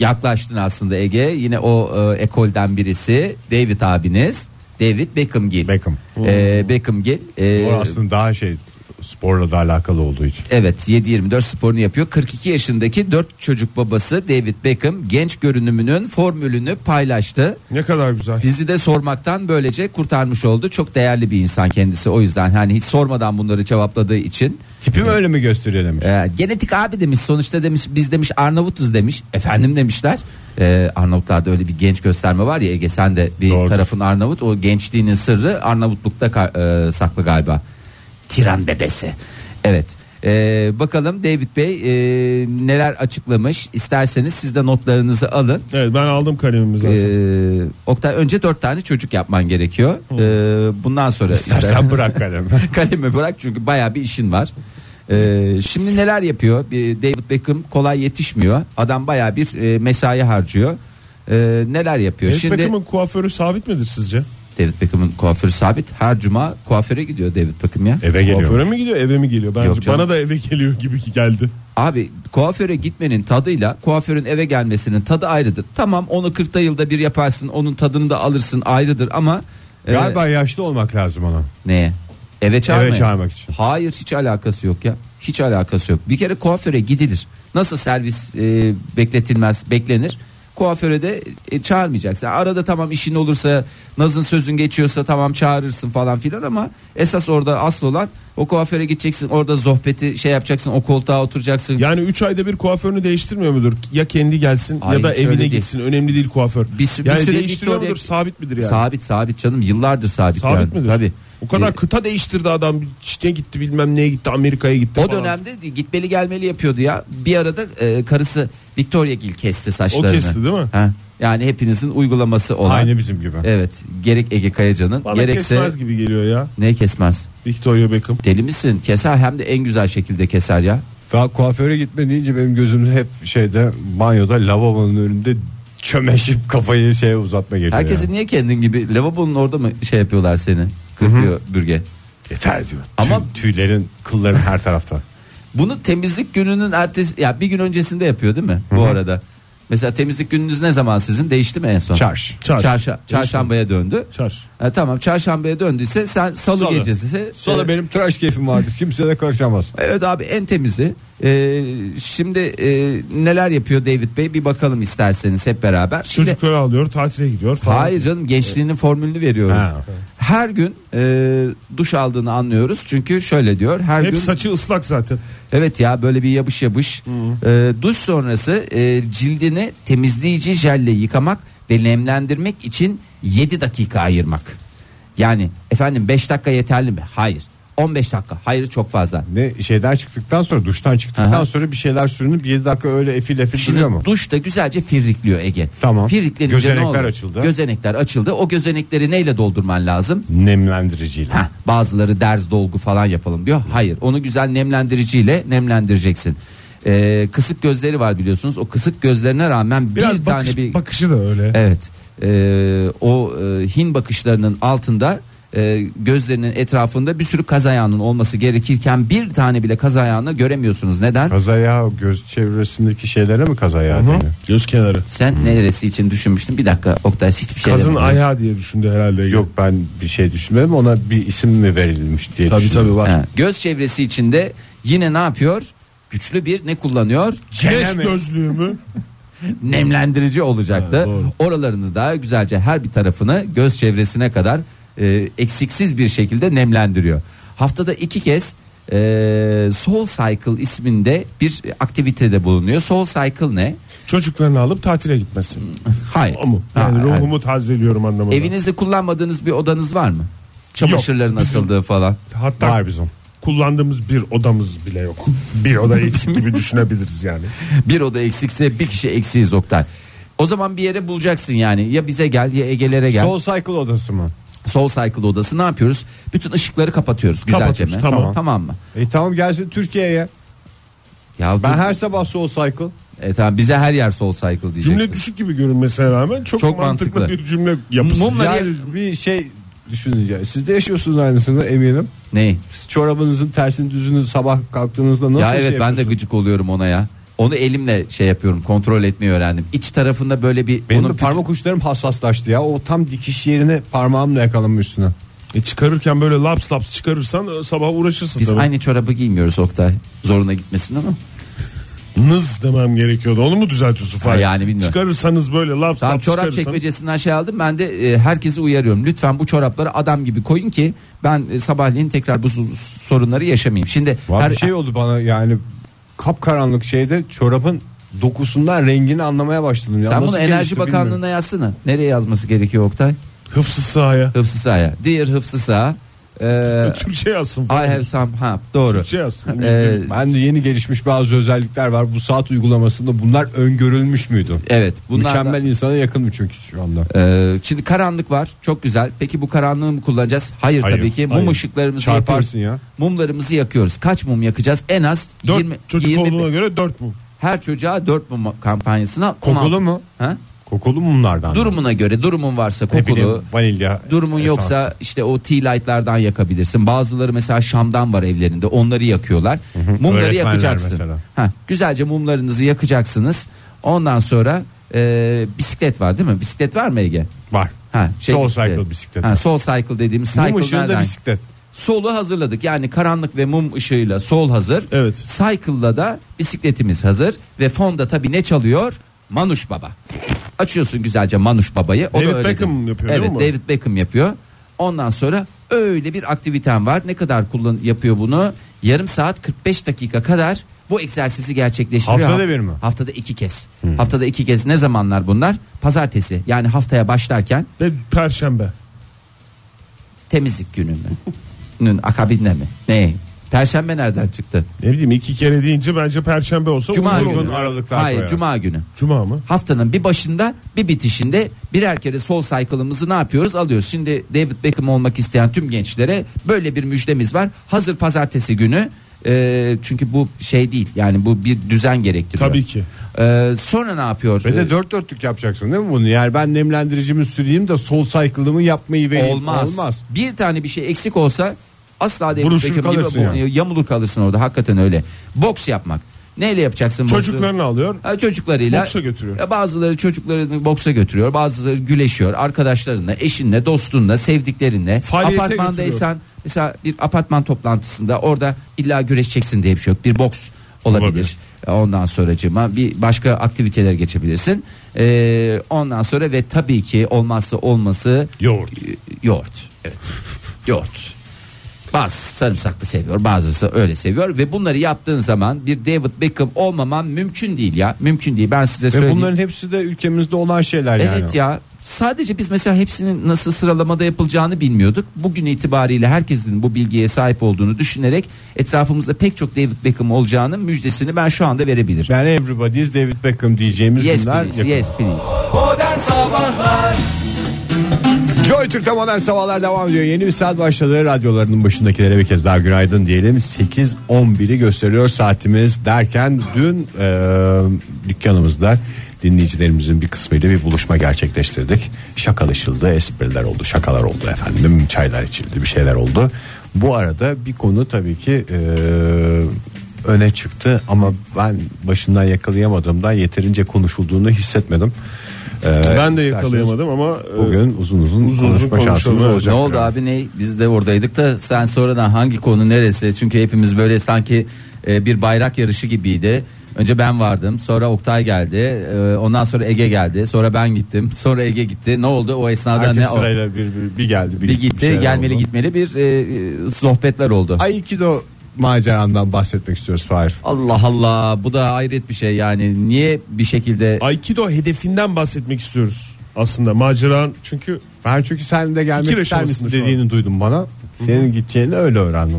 Speaker 4: Yaklaştın aslında Ege. Yine o e, ekolden birisi David abiniz. David Beckhamgil.
Speaker 2: Beckham.
Speaker 4: E, Beckhamgil. e,
Speaker 2: O aslında daha şey sporla da alakalı olduğu için.
Speaker 4: Evet 7-24 sporunu yapıyor. 42 yaşındaki 4 çocuk babası David Beckham genç görünümünün formülünü paylaştı.
Speaker 3: Ne kadar güzel.
Speaker 4: Bizi de sormaktan böylece kurtarmış oldu. Çok değerli bir insan kendisi. O yüzden hani hiç sormadan bunları cevapladığı için.
Speaker 2: Tipim öyle mi gösteriyor demiş.
Speaker 4: Ee, genetik abi demiş sonuçta demiş biz demiş Arnavutuz demiş. Efendim demişler. Ee, Arnavutlarda öyle bir genç gösterme var ya Ege sen de bir
Speaker 2: Doğrudur.
Speaker 4: tarafın Arnavut. O gençliğinin sırrı Arnavutlukta ka- e, saklı galiba. Tiran bebesi. Evet. Ee, bakalım David Bey e, neler açıklamış. İsterseniz siz de notlarınızı alın.
Speaker 3: Evet ben aldım kalemimi zaten.
Speaker 4: Ee, Oktay önce dört tane çocuk yapman gerekiyor. Ee, bundan sonra istersen
Speaker 2: İstersen bırak kalemi.
Speaker 4: [laughs] kalemi bırak çünkü baya bir işin var. Ee, şimdi neler yapıyor? Bir David Beckham kolay yetişmiyor. Adam baya bir e, mesai harcıyor. Ee, neler yapıyor?
Speaker 3: David
Speaker 4: şimdi
Speaker 3: Beckham'ın kuaförü sabit midir sizce?
Speaker 4: David Beckham'ın kuaförü sabit. Her cuma kuaföre gidiyor David Beckham ya.
Speaker 2: Eve geliyor.
Speaker 3: Kuaföre mi gidiyor eve mi geliyor? Bence
Speaker 4: Yok canım.
Speaker 3: bana da eve geliyor gibi ki geldi.
Speaker 4: Abi kuaföre gitmenin tadıyla kuaförün eve gelmesinin tadı ayrıdır. Tamam onu 40'ta yılda bir yaparsın. Onun tadını da alırsın ayrıdır ama e,
Speaker 2: Galiba yaşlı olmak lazım ona.
Speaker 4: Neye? Eve çağırmaya.
Speaker 2: Eve çağırmak için.
Speaker 4: Hayır hiç alakası yok ya. Hiç alakası yok. Bir kere kuaföre gidilir. Nasıl servis e, bekletilmez, beklenir. Kuaföre de e, çağırmayacaksın. Arada tamam işin olursa, nazın sözün geçiyorsa tamam çağırırsın falan filan ama esas orada asıl olan o kuaföre gideceksin. Orada sohbeti şey yapacaksın, o koltuğa oturacaksın.
Speaker 3: Yani 3 ayda bir kuaförünü değiştirmiyor mudur? Ya kendi gelsin
Speaker 4: Hayır,
Speaker 3: ya da
Speaker 4: hiç öyle
Speaker 3: evine
Speaker 4: değil.
Speaker 3: gitsin. Önemli değil kuaför.
Speaker 4: Bir sü- bir
Speaker 3: yani
Speaker 4: süre
Speaker 3: değiştiriyor
Speaker 4: Victoria-
Speaker 3: mudur? Sabit midir yani?
Speaker 4: Sabit sabit canım yıllardır sabit.
Speaker 3: Sabit
Speaker 4: yani.
Speaker 3: midir?
Speaker 4: Tabii.
Speaker 3: O kadar
Speaker 4: E,
Speaker 3: kıta değiştirdi adam. Bir Çin'e gitti bilmem neye gitti Amerika'ya gitti
Speaker 4: O
Speaker 3: falan.
Speaker 4: dönemde gitmeli gelmeli yapıyordu ya. Bir arada e, karısı Victoria Gil kesti
Speaker 3: O
Speaker 4: saçlarını.
Speaker 3: kesti değil mi?
Speaker 4: Ha, yani hepinizin uygulaması olan.
Speaker 2: Aynı bizim gibi.
Speaker 4: Evet. Gerek Ege Kayacan'ın
Speaker 3: Bana
Speaker 4: gerekse
Speaker 3: kesmez gibi geliyor ya.
Speaker 4: ne kesmez?
Speaker 3: Victoria Beckham.
Speaker 4: Deli misin? Keser hem de en güzel şekilde keser ya.
Speaker 2: Daha kuaföre gitme deyince benim gözüm hep şeyde banyoda lavabonun önünde çömeşip kafayı şeye uzatma geliyor.
Speaker 4: Herkesi
Speaker 2: yani.
Speaker 4: niye kendin gibi lavabonun orada mı şey yapıyorlar seni? Kırpıyor bürge.
Speaker 2: yeter diyor.
Speaker 4: Ama-
Speaker 2: Ama tüylerin, kılların her tarafta.
Speaker 4: Bunu temizlik gününün ertesi ya bir gün öncesinde yapıyor değil mi bu arada? Mesela temizlik gününüz ne zaman sizin? Değişti mi en son?
Speaker 2: Çarş.
Speaker 3: Çarş.
Speaker 4: Çarşa- çarşambaya döndü.
Speaker 3: Çar.
Speaker 4: Ha, tamam çarşambaya döndüyse sen salı,
Speaker 2: Salı.
Speaker 4: gecesi ise
Speaker 2: Sonra benim tıraş keyfim vardı. Kimse de karışamaz.
Speaker 4: Evet abi en temizi. Ee, şimdi e, neler yapıyor David Bey bir bakalım isterseniz hep beraber. Şimdi,
Speaker 3: Çocukları alıyor tatile gidiyor falan.
Speaker 4: Hayır canım gençliğinin formülünü veriyorum.
Speaker 2: Ha.
Speaker 4: Her gün e, duş aldığını anlıyoruz çünkü şöyle diyor her
Speaker 3: Hep
Speaker 4: gün
Speaker 3: saçı ıslak zaten.
Speaker 4: evet ya böyle bir yabış yabış E, duş sonrası e, cildini temizleyici jelle yıkamak ve nemlendirmek için 7 dakika ayırmak. Yani efendim 5 dakika yeterli mi? Hayır. 15 dakika. Hayır çok fazla.
Speaker 2: Ne şeyden çıktıktan sonra duştan çıktıktan
Speaker 4: Aha.
Speaker 2: sonra bir şeyler sürünüp 7 dakika öyle efil efil duruyor mu?
Speaker 4: Şimdi duş da güzelce firrikliyor Ege.
Speaker 2: Tamam.
Speaker 4: Firriklenince
Speaker 2: Gözenekler
Speaker 4: ne olur?
Speaker 2: açıldı.
Speaker 4: Gözenekler açıldı. O gözenekleri neyle doldurman lazım?
Speaker 2: Nemlendiriciyle.
Speaker 4: Heh, bazıları derz dolgu falan yapalım diyor. Hayır onu güzel nemlendiriciyle nemlendireceksin. Ee, kısık gözleri var biliyorsunuz. O kısık gözlerine rağmen bir
Speaker 3: Biraz bakış-
Speaker 4: tane bir
Speaker 3: bakışı da öyle.
Speaker 4: Evet. Ee, o e, Hin bakışlarının altında e, gözlerinin etrafında bir sürü kaz ayağının olması gerekirken bir tane bile kaz ayağını göremiyorsunuz. Neden?
Speaker 2: Kazaya göz çevresindeki şeylere mi kazaya deniyor?
Speaker 3: Göz kenarı.
Speaker 4: Sen neresi için düşünmüştün? Bir dakika Oktay hiçbir şey
Speaker 3: Kazın
Speaker 4: demedim.
Speaker 3: ayağı diye düşündü herhalde.
Speaker 2: Yok ben bir şey düşünmedim ona bir isim mi verilmiş diye
Speaker 3: Tabii
Speaker 2: düşündüm.
Speaker 3: tabii var.
Speaker 4: Ha, Göz çevresi içinde yine ne yapıyor? Güçlü bir ne kullanıyor?
Speaker 3: Güneş gözlüğü mü?
Speaker 4: Nemlendirici olacaktı.
Speaker 3: Ha, doğru.
Speaker 4: Oralarını da güzelce her bir tarafını göz çevresine kadar e, eksiksiz bir şekilde nemlendiriyor. Haftada iki kez e, Soul Cycle isminde bir aktivitede bulunuyor. Soul Cycle ne?
Speaker 3: Çocuklarını alıp tatile gitmesi.
Speaker 4: Hayır.
Speaker 3: O mu? Yani
Speaker 4: Ha,
Speaker 3: ruhumu tazeliyorum anlamında.
Speaker 4: ha. Evinizde kullanmadığınız bir odanız var mı? Çamaşırların
Speaker 3: Yok, bizim-
Speaker 4: asıldığı falan.
Speaker 3: Hatta
Speaker 2: Var bizim.
Speaker 3: kullandığımız bir odamız bile yok.
Speaker 4: [laughs]
Speaker 3: bir oda eksik gibi düşünebiliriz yani.
Speaker 4: Bir oda eksikse bir kişi eksiyiz Oktay. O zaman bir yere bulacaksın yani. Ya bize gel ya Ege'lere gel.
Speaker 2: Soul Cycle odası mı?
Speaker 4: Soul Cycle odası ne yapıyoruz? Bütün ışıkları kapatıyoruz güzelce
Speaker 3: Kapatıyoruz,
Speaker 4: mi?
Speaker 3: tamam.
Speaker 4: mı?
Speaker 2: E tamam gelsin Türkiye'ye.
Speaker 4: Ya
Speaker 2: Ben
Speaker 4: bu-
Speaker 2: her sabah Soul Cycle.
Speaker 4: E tamam bize her yer Soul Cycle diyeceksin.
Speaker 3: Cümle düşük gibi görünmesine rağmen çok,
Speaker 4: Çok
Speaker 3: mantıklı,
Speaker 4: mantıklı.
Speaker 3: bir cümle yapısı.
Speaker 4: Mumla
Speaker 3: Yani-
Speaker 2: Yani bir şey düşüneceğim. Siz de yaşıyorsunuz aynısını eminim.
Speaker 4: Ney?
Speaker 2: Siz çorabınızın tersini düzünü sabah kalktığınızda nasıl
Speaker 4: ya
Speaker 2: şey
Speaker 4: evet ben de
Speaker 2: yapıyorsunuz?
Speaker 4: gıcık oluyorum ona ya. Onu elimle şey yapıyorum kontrol etmeyi öğrendim. İç tarafında böyle bir
Speaker 2: Benim
Speaker 4: onun
Speaker 2: de parmak uçlarım hassaslaştı ya. O tam dikiş yerine parmağımla yakaladım üstüne.
Speaker 3: E çıkarırken böyle laps laps çıkarırsan e, sabah uğraşırsın
Speaker 4: biz
Speaker 3: tabii.
Speaker 4: aynı çorabı giymiyoruz Oktay. Zoruna gitmesin ama.
Speaker 3: Nız demem gerekiyordu. Onu mu düzeltiyorsun Fahir?
Speaker 4: Ha, yani bilmiyorum.
Speaker 3: Çıkarırsanız böyle laps
Speaker 4: Tamam
Speaker 3: laps
Speaker 4: çorap
Speaker 3: çıkarırsan.
Speaker 4: çekmecesinden şey aldım. Ben de e, herkesi uyarıyorum. Lütfen bu çorapları adam gibi koyun ki ben e, sabahleyin tekrar bu su- sorunları yaşamayayım. Şimdi
Speaker 2: Var
Speaker 4: her
Speaker 2: bir şey oldu bana yani kapkaranlık şeyde çorabın dokusundan rengini anlamaya başladım. Ya
Speaker 4: sen bunu
Speaker 2: Nasıl
Speaker 4: Enerji
Speaker 2: gelişti bilmiyorum.
Speaker 4: Bakanlığı'na yazsana. Nereye yazması gerekiyor Oktay?
Speaker 3: Hıfzı sahaya.
Speaker 4: Hıfzı sahaya. Dear Hıfzı saha. e,
Speaker 3: [laughs] Türkçe yazsın.
Speaker 4: I have some ha doğru.
Speaker 3: Türkçe yazsın. İngilizce
Speaker 4: Ee,
Speaker 2: Ben de yeni gelişmiş bazı özellikler var. Bu saat uygulamasında bunlar öngörülmüş müydü?
Speaker 4: evet bunlar da-
Speaker 2: Mükemmel insana yakın mı çünkü şu anda? E
Speaker 4: Ee, şimdi karanlık var çok güzel. Peki bu karanlığı mı kullanacağız? Hayır,
Speaker 3: Hayır,
Speaker 4: tabii ki. Mum
Speaker 3: hayır.
Speaker 4: ışıklarımızı
Speaker 2: Çarparsın ya.
Speaker 4: yakıyoruz. Mumlarımızı yakıyoruz. Kaç mum yakacağız? En az
Speaker 3: Dört
Speaker 4: 20
Speaker 3: çocuk
Speaker 4: 20
Speaker 3: olduğuna göre dört mu?
Speaker 4: her çocuğa 4 mum kampanyasına
Speaker 2: Kokulu
Speaker 4: on-
Speaker 2: mu?
Speaker 4: Ha?
Speaker 2: Kokulu mumlardan.
Speaker 4: Durumuna göre durumun varsa
Speaker 2: Ne bileyim,
Speaker 4: kokulu.
Speaker 2: vanilya.
Speaker 4: Durumun
Speaker 2: esans.
Speaker 4: yoksa işte o tea light'lardan yakabilirsin. Bazıları mesela şamdan var evlerinde. Onları yakıyorlar. Mumları
Speaker 2: öğretmenler
Speaker 4: yakacaksın.
Speaker 2: mesela.
Speaker 4: Ha, güzelce mumlarınızı yakacaksınız. Ondan sonra e, bisiklet var değil mi? Bisiklet var mı Ege?
Speaker 2: var.
Speaker 4: Ha, şey
Speaker 2: Soul cycle bisiklet.
Speaker 4: Ha, soul cycle dediğimiz cycle
Speaker 2: Mum ışığında
Speaker 4: nereden?
Speaker 2: bisiklet.
Speaker 4: Solu hazırladık. Yani karanlık ve mum ışığıyla sol hazır.
Speaker 3: Evet.
Speaker 4: Cycle'la da bisikletimiz hazır ve fonda tabii ne çalıyor? Manuş Baba. Açıyorsun güzelce Manuş Baba'yı. O da
Speaker 3: David
Speaker 4: öyle
Speaker 3: Beckham
Speaker 4: değil.
Speaker 3: yapıyor
Speaker 4: Evet,
Speaker 3: değil mi bunu?
Speaker 4: David Beckham yapıyor. Ondan sonra öyle bir aktiviten var. Ne kadar kullan yapıyor bunu? Yarım saat 45 dakika kadar bu egzersizi gerçekleştiriyor.
Speaker 2: Haftada bir mi?
Speaker 4: Haftada iki kez.
Speaker 3: Hmm.
Speaker 4: Haftada iki kez ne zamanlar bunlar? Pazartesi yani haftaya başlarken
Speaker 3: Ve perşembe.
Speaker 4: temizlik günü mü? Nün akabinde mi? Ne? Perşembe nereden çıktı?
Speaker 3: Ne bileyim iki kere deyince bence perşembe olsa
Speaker 4: Cuma
Speaker 3: olur
Speaker 2: uygun
Speaker 4: günü.
Speaker 2: aralıklar
Speaker 4: Hayır,
Speaker 2: koyar.
Speaker 4: cuma günü.
Speaker 3: Cuma mı?
Speaker 4: Haftanın bir başında, bir bitişinde birer kere sol cycle'ımızı ne yapıyoruz? Alıyoruz. Şimdi David Beckham olmak isteyen tüm gençlere böyle bir müjdemiz var. Hazır pazartesi günü e, çünkü bu şey değil. Yani bu bir düzen gerektiriyor.
Speaker 3: Tabii ki.
Speaker 4: E, sonra ne yapıyor?
Speaker 2: Ve
Speaker 4: E,
Speaker 2: de dört dörtlük yapacaksın değil mi bunu? Yani ben nemlendiricimi süreyim de sol cycle'ımı yapmayı vereyim.
Speaker 4: Olmaz.
Speaker 2: Olmaz.
Speaker 4: Bir tane bir şey eksik olsa asla David
Speaker 2: Buruşur
Speaker 4: Beckham gibi
Speaker 2: kalırsın yani.
Speaker 4: yamulur kalırsın orada. Hakikaten öyle. Boks yapmak. Neyle yapacaksın boksu?
Speaker 3: Çocuklarını alıyor.
Speaker 4: Ha, çocuklarıyla
Speaker 3: Boksa götürüyor.
Speaker 4: Ya bazıları çocuklarını boksa götürüyor bazıları güleşiyor arkadaşlarınla eşinle dostunla sevdiklerinle
Speaker 3: Faaliyete
Speaker 4: apartmandaysan mesela bir apartman toplantısında orada illa güreşeceksin diye bir şey yok bir boks olabilir, E,
Speaker 3: Olabilir.
Speaker 4: ondan sonracığıma bir başka aktiviteler geçebilirsin Ee, ondan sonra ve tabii ki olmazsa olması
Speaker 3: Yoğurt.
Speaker 4: y- yoğurt evet yoğurt Bazısı sarımsaklı seviyor bazısı öyle seviyor ve bunları yaptığın zaman bir David Beckham olmaman mümkün değil ya mümkün değil ben size
Speaker 2: Ve
Speaker 4: söyleyeyim.
Speaker 2: bunların hepsi de ülkemizde olan şeyler yani.
Speaker 4: Evet ya sadece biz mesela hepsinin nasıl sıralamada yapılacağını bilmiyorduk. Bugün itibariyle herkesin bu bilgiye sahip olduğunu düşünerek etrafımızda pek çok David Beckham olacağının müjdesini ben şu anda verebilirim.
Speaker 2: Yani everybody's David Beckham diyeceğimiz
Speaker 4: Yes
Speaker 2: günler
Speaker 4: please,
Speaker 2: yakın.
Speaker 4: yes please.
Speaker 2: Joy Türk'te modern sabahlar devam ediyor. Yeni bir saat başladı. Radyolarının başındakilere bir kez daha günaydın diyelim. 8.11'i gösteriyor saatimiz derken dün e, dükkanımızda dinleyicilerimizin bir kısmıyla bir buluşma gerçekleştirdik. Şakalaşıldı, espriler oldu, şakalar oldu efendim. Çaylar içildi, bir şeyler oldu. Bu arada bir konu tabii ki e, öne çıktı ama ben başından yakalayamadığımdan yeterince konuşulduğunu hissetmedim. E,
Speaker 3: Ben
Speaker 2: isterseniz-
Speaker 3: de yakalayamadım ama e,
Speaker 2: Bugün uzun uzun,
Speaker 3: uzun uzun
Speaker 2: konuşma şansımız
Speaker 3: konuşalım.
Speaker 2: olacak.
Speaker 4: ne oldu abi ne biz de oradaydık da sen sonradan hangi konu neresi çünkü hepimiz böyle sanki e, bir bayrak yarışı gibiydi. Önce ben vardım sonra Oktay geldi e, ondan sonra Ege geldi sonra ben gittim sonra Ege gitti ne oldu o esnada
Speaker 2: Herkes
Speaker 4: ne
Speaker 2: sırayla bir, bir, bir geldi
Speaker 4: bir
Speaker 2: bir, bir şeyler
Speaker 4: gitti gelmeli
Speaker 2: oldu.
Speaker 4: gitmeli bir e, e, sohbetler oldu.
Speaker 2: Aikido macerandan bahsetmek istiyoruz Fahir.
Speaker 4: Allah Allah bu da hayret bir şey yani niye bir şekilde
Speaker 3: Aikido hedefinden bahsetmek istiyoruz aslında maceran çünkü
Speaker 2: Ben çünkü sen de gelmek
Speaker 3: Fikir
Speaker 2: ister misin
Speaker 3: aşamasında şu
Speaker 2: dediğini duydum bana. Senin gideceğini öyle öğrendim.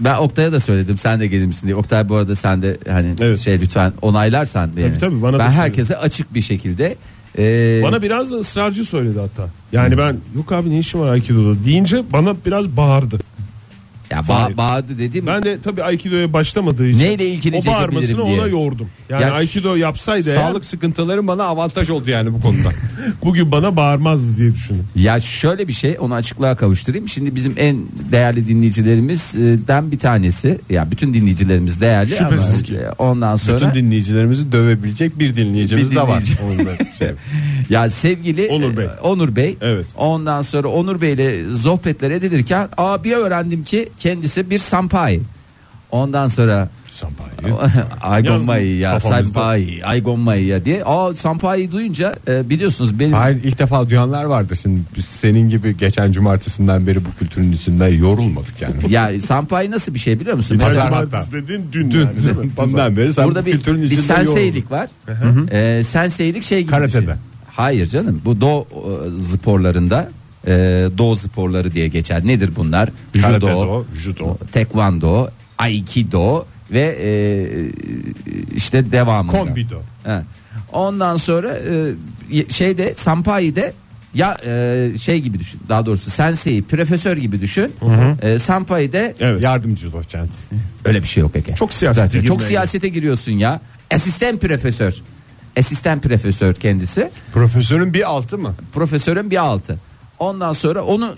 Speaker 4: ben Oktay'a da söyledim sen de gelir misin diye. Oktay bu arada sen de hani
Speaker 3: Evet.
Speaker 4: şey lütfen onaylarsan beni.
Speaker 3: tabii, bana da
Speaker 4: ben
Speaker 3: söyle.
Speaker 4: herkese açık bir şekilde e,
Speaker 3: bana biraz da ısrarcı söyledi hatta. Yani ben yok abi ne işim var Aikido'da deyince bana biraz bağırdı.
Speaker 4: ya ba-
Speaker 3: Hayır.
Speaker 4: bağırdı dedim.
Speaker 3: Ben de tabii Aikido'ya başlamadığı için
Speaker 4: Neyle ilgili
Speaker 3: o bağırmasını
Speaker 4: çekebilirim diye.
Speaker 3: ona yoğurdum. Yani
Speaker 4: Ya
Speaker 3: Aikido yapsaydı eğer
Speaker 2: Sağlık sıkıntılarım bana avantaj oldu yani bu [laughs] konuda.
Speaker 3: bugün bana bağırmazdı diye düşündüm.
Speaker 4: Ya şöyle bir şey onu açıklığa kavuşturayım. Şimdi bizim en değerli dinleyicilerimizden bir tanesi. Ya bütün dinleyicilerimiz değerli
Speaker 3: Şüphesiz
Speaker 4: ama
Speaker 3: ki.
Speaker 4: e, ondan sonra
Speaker 2: Bütün dinleyicilerimizi dövebilecek bir dinleyicimiz
Speaker 4: Bir
Speaker 2: de var. [laughs]
Speaker 4: dinleyici.
Speaker 2: Onu da şey-
Speaker 4: Ya sevgili
Speaker 3: Onur Bey.
Speaker 4: e, Onur Bey.
Speaker 3: Evet.
Speaker 4: Ondan sonra Onur Bey'le sohbetler edilirken aa bir öğrendim ki kendisi bir sampai. Ondan sonra [laughs]
Speaker 2: Şampanya.
Speaker 4: Aygonmai ya
Speaker 2: Kafamızda.
Speaker 4: sampai Aygonmai ya diye. Aa sampai duyunca e, biliyorsunuz benim
Speaker 2: Hayır ilk defa duyanlar vardır. Şimdi biz senin gibi geçen cumartesinden beri bu kültürün içinde yorulmadık yani.
Speaker 4: ya sampai nasıl bir şey biliyor musun?
Speaker 2: Pazar
Speaker 4: Mesela-
Speaker 2: hatta.
Speaker 3: Cumartesi dediğin dün,
Speaker 2: Dün,
Speaker 3: yani değil mi? Pazar.
Speaker 2: dünden beri sen
Speaker 4: Burada
Speaker 2: bu
Speaker 4: bir,
Speaker 2: kültürün
Speaker 4: bir
Speaker 2: içinde yoruldun.
Speaker 4: senseilik var. Ee, senseilik şey gibi. bir
Speaker 2: Karatede.
Speaker 4: şey. Hayır canım bu do e, sporlarında e, do sporları diye geçer. Nedir bunlar?
Speaker 2: Karate
Speaker 4: Judo,
Speaker 2: do, judo.
Speaker 4: tekvando, aikido ve e, işte devamı.
Speaker 2: Kombido.
Speaker 4: Ondan sonra e, şeyde sampai'de ya e, şey gibi düşün. Daha doğrusu sensei profesör gibi düşün. E, sampai'de
Speaker 3: Evet.
Speaker 2: Yardımcı doçent.
Speaker 4: Öyle bir şey yok Ege.
Speaker 3: Çok siyasete
Speaker 4: Zaten Çok
Speaker 3: girmeye
Speaker 4: siyasete giriyorsun ya. Asistan profesör. Asistan profesör kendisi.
Speaker 2: Profesörün bir altı mı?
Speaker 4: Profesörün bir altı. Ondan sonra onu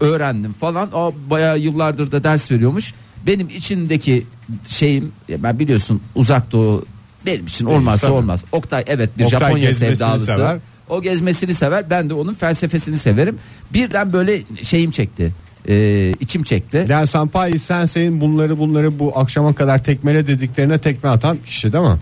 Speaker 4: öğrendim falan. O bayağı yıllardır da ders veriyormuş. Benim içindeki şeyim ya ben biliyorsun uzak doğu benim için olmazsa
Speaker 2: tabii.
Speaker 4: olmaz. Oktay evet bir
Speaker 2: Oktay
Speaker 4: Japonya
Speaker 2: gezmesini
Speaker 4: sevdalısı.
Speaker 2: sever.
Speaker 4: O gezmesini sever. Ben de onun felsefesini severim. Birden böyle şeyim çekti. Ee, içim çekti.
Speaker 2: Yani Sampaio Sensei'nin bunları bunları bu akşama kadar tekmele dediklerine tekme atan kişi değil mi?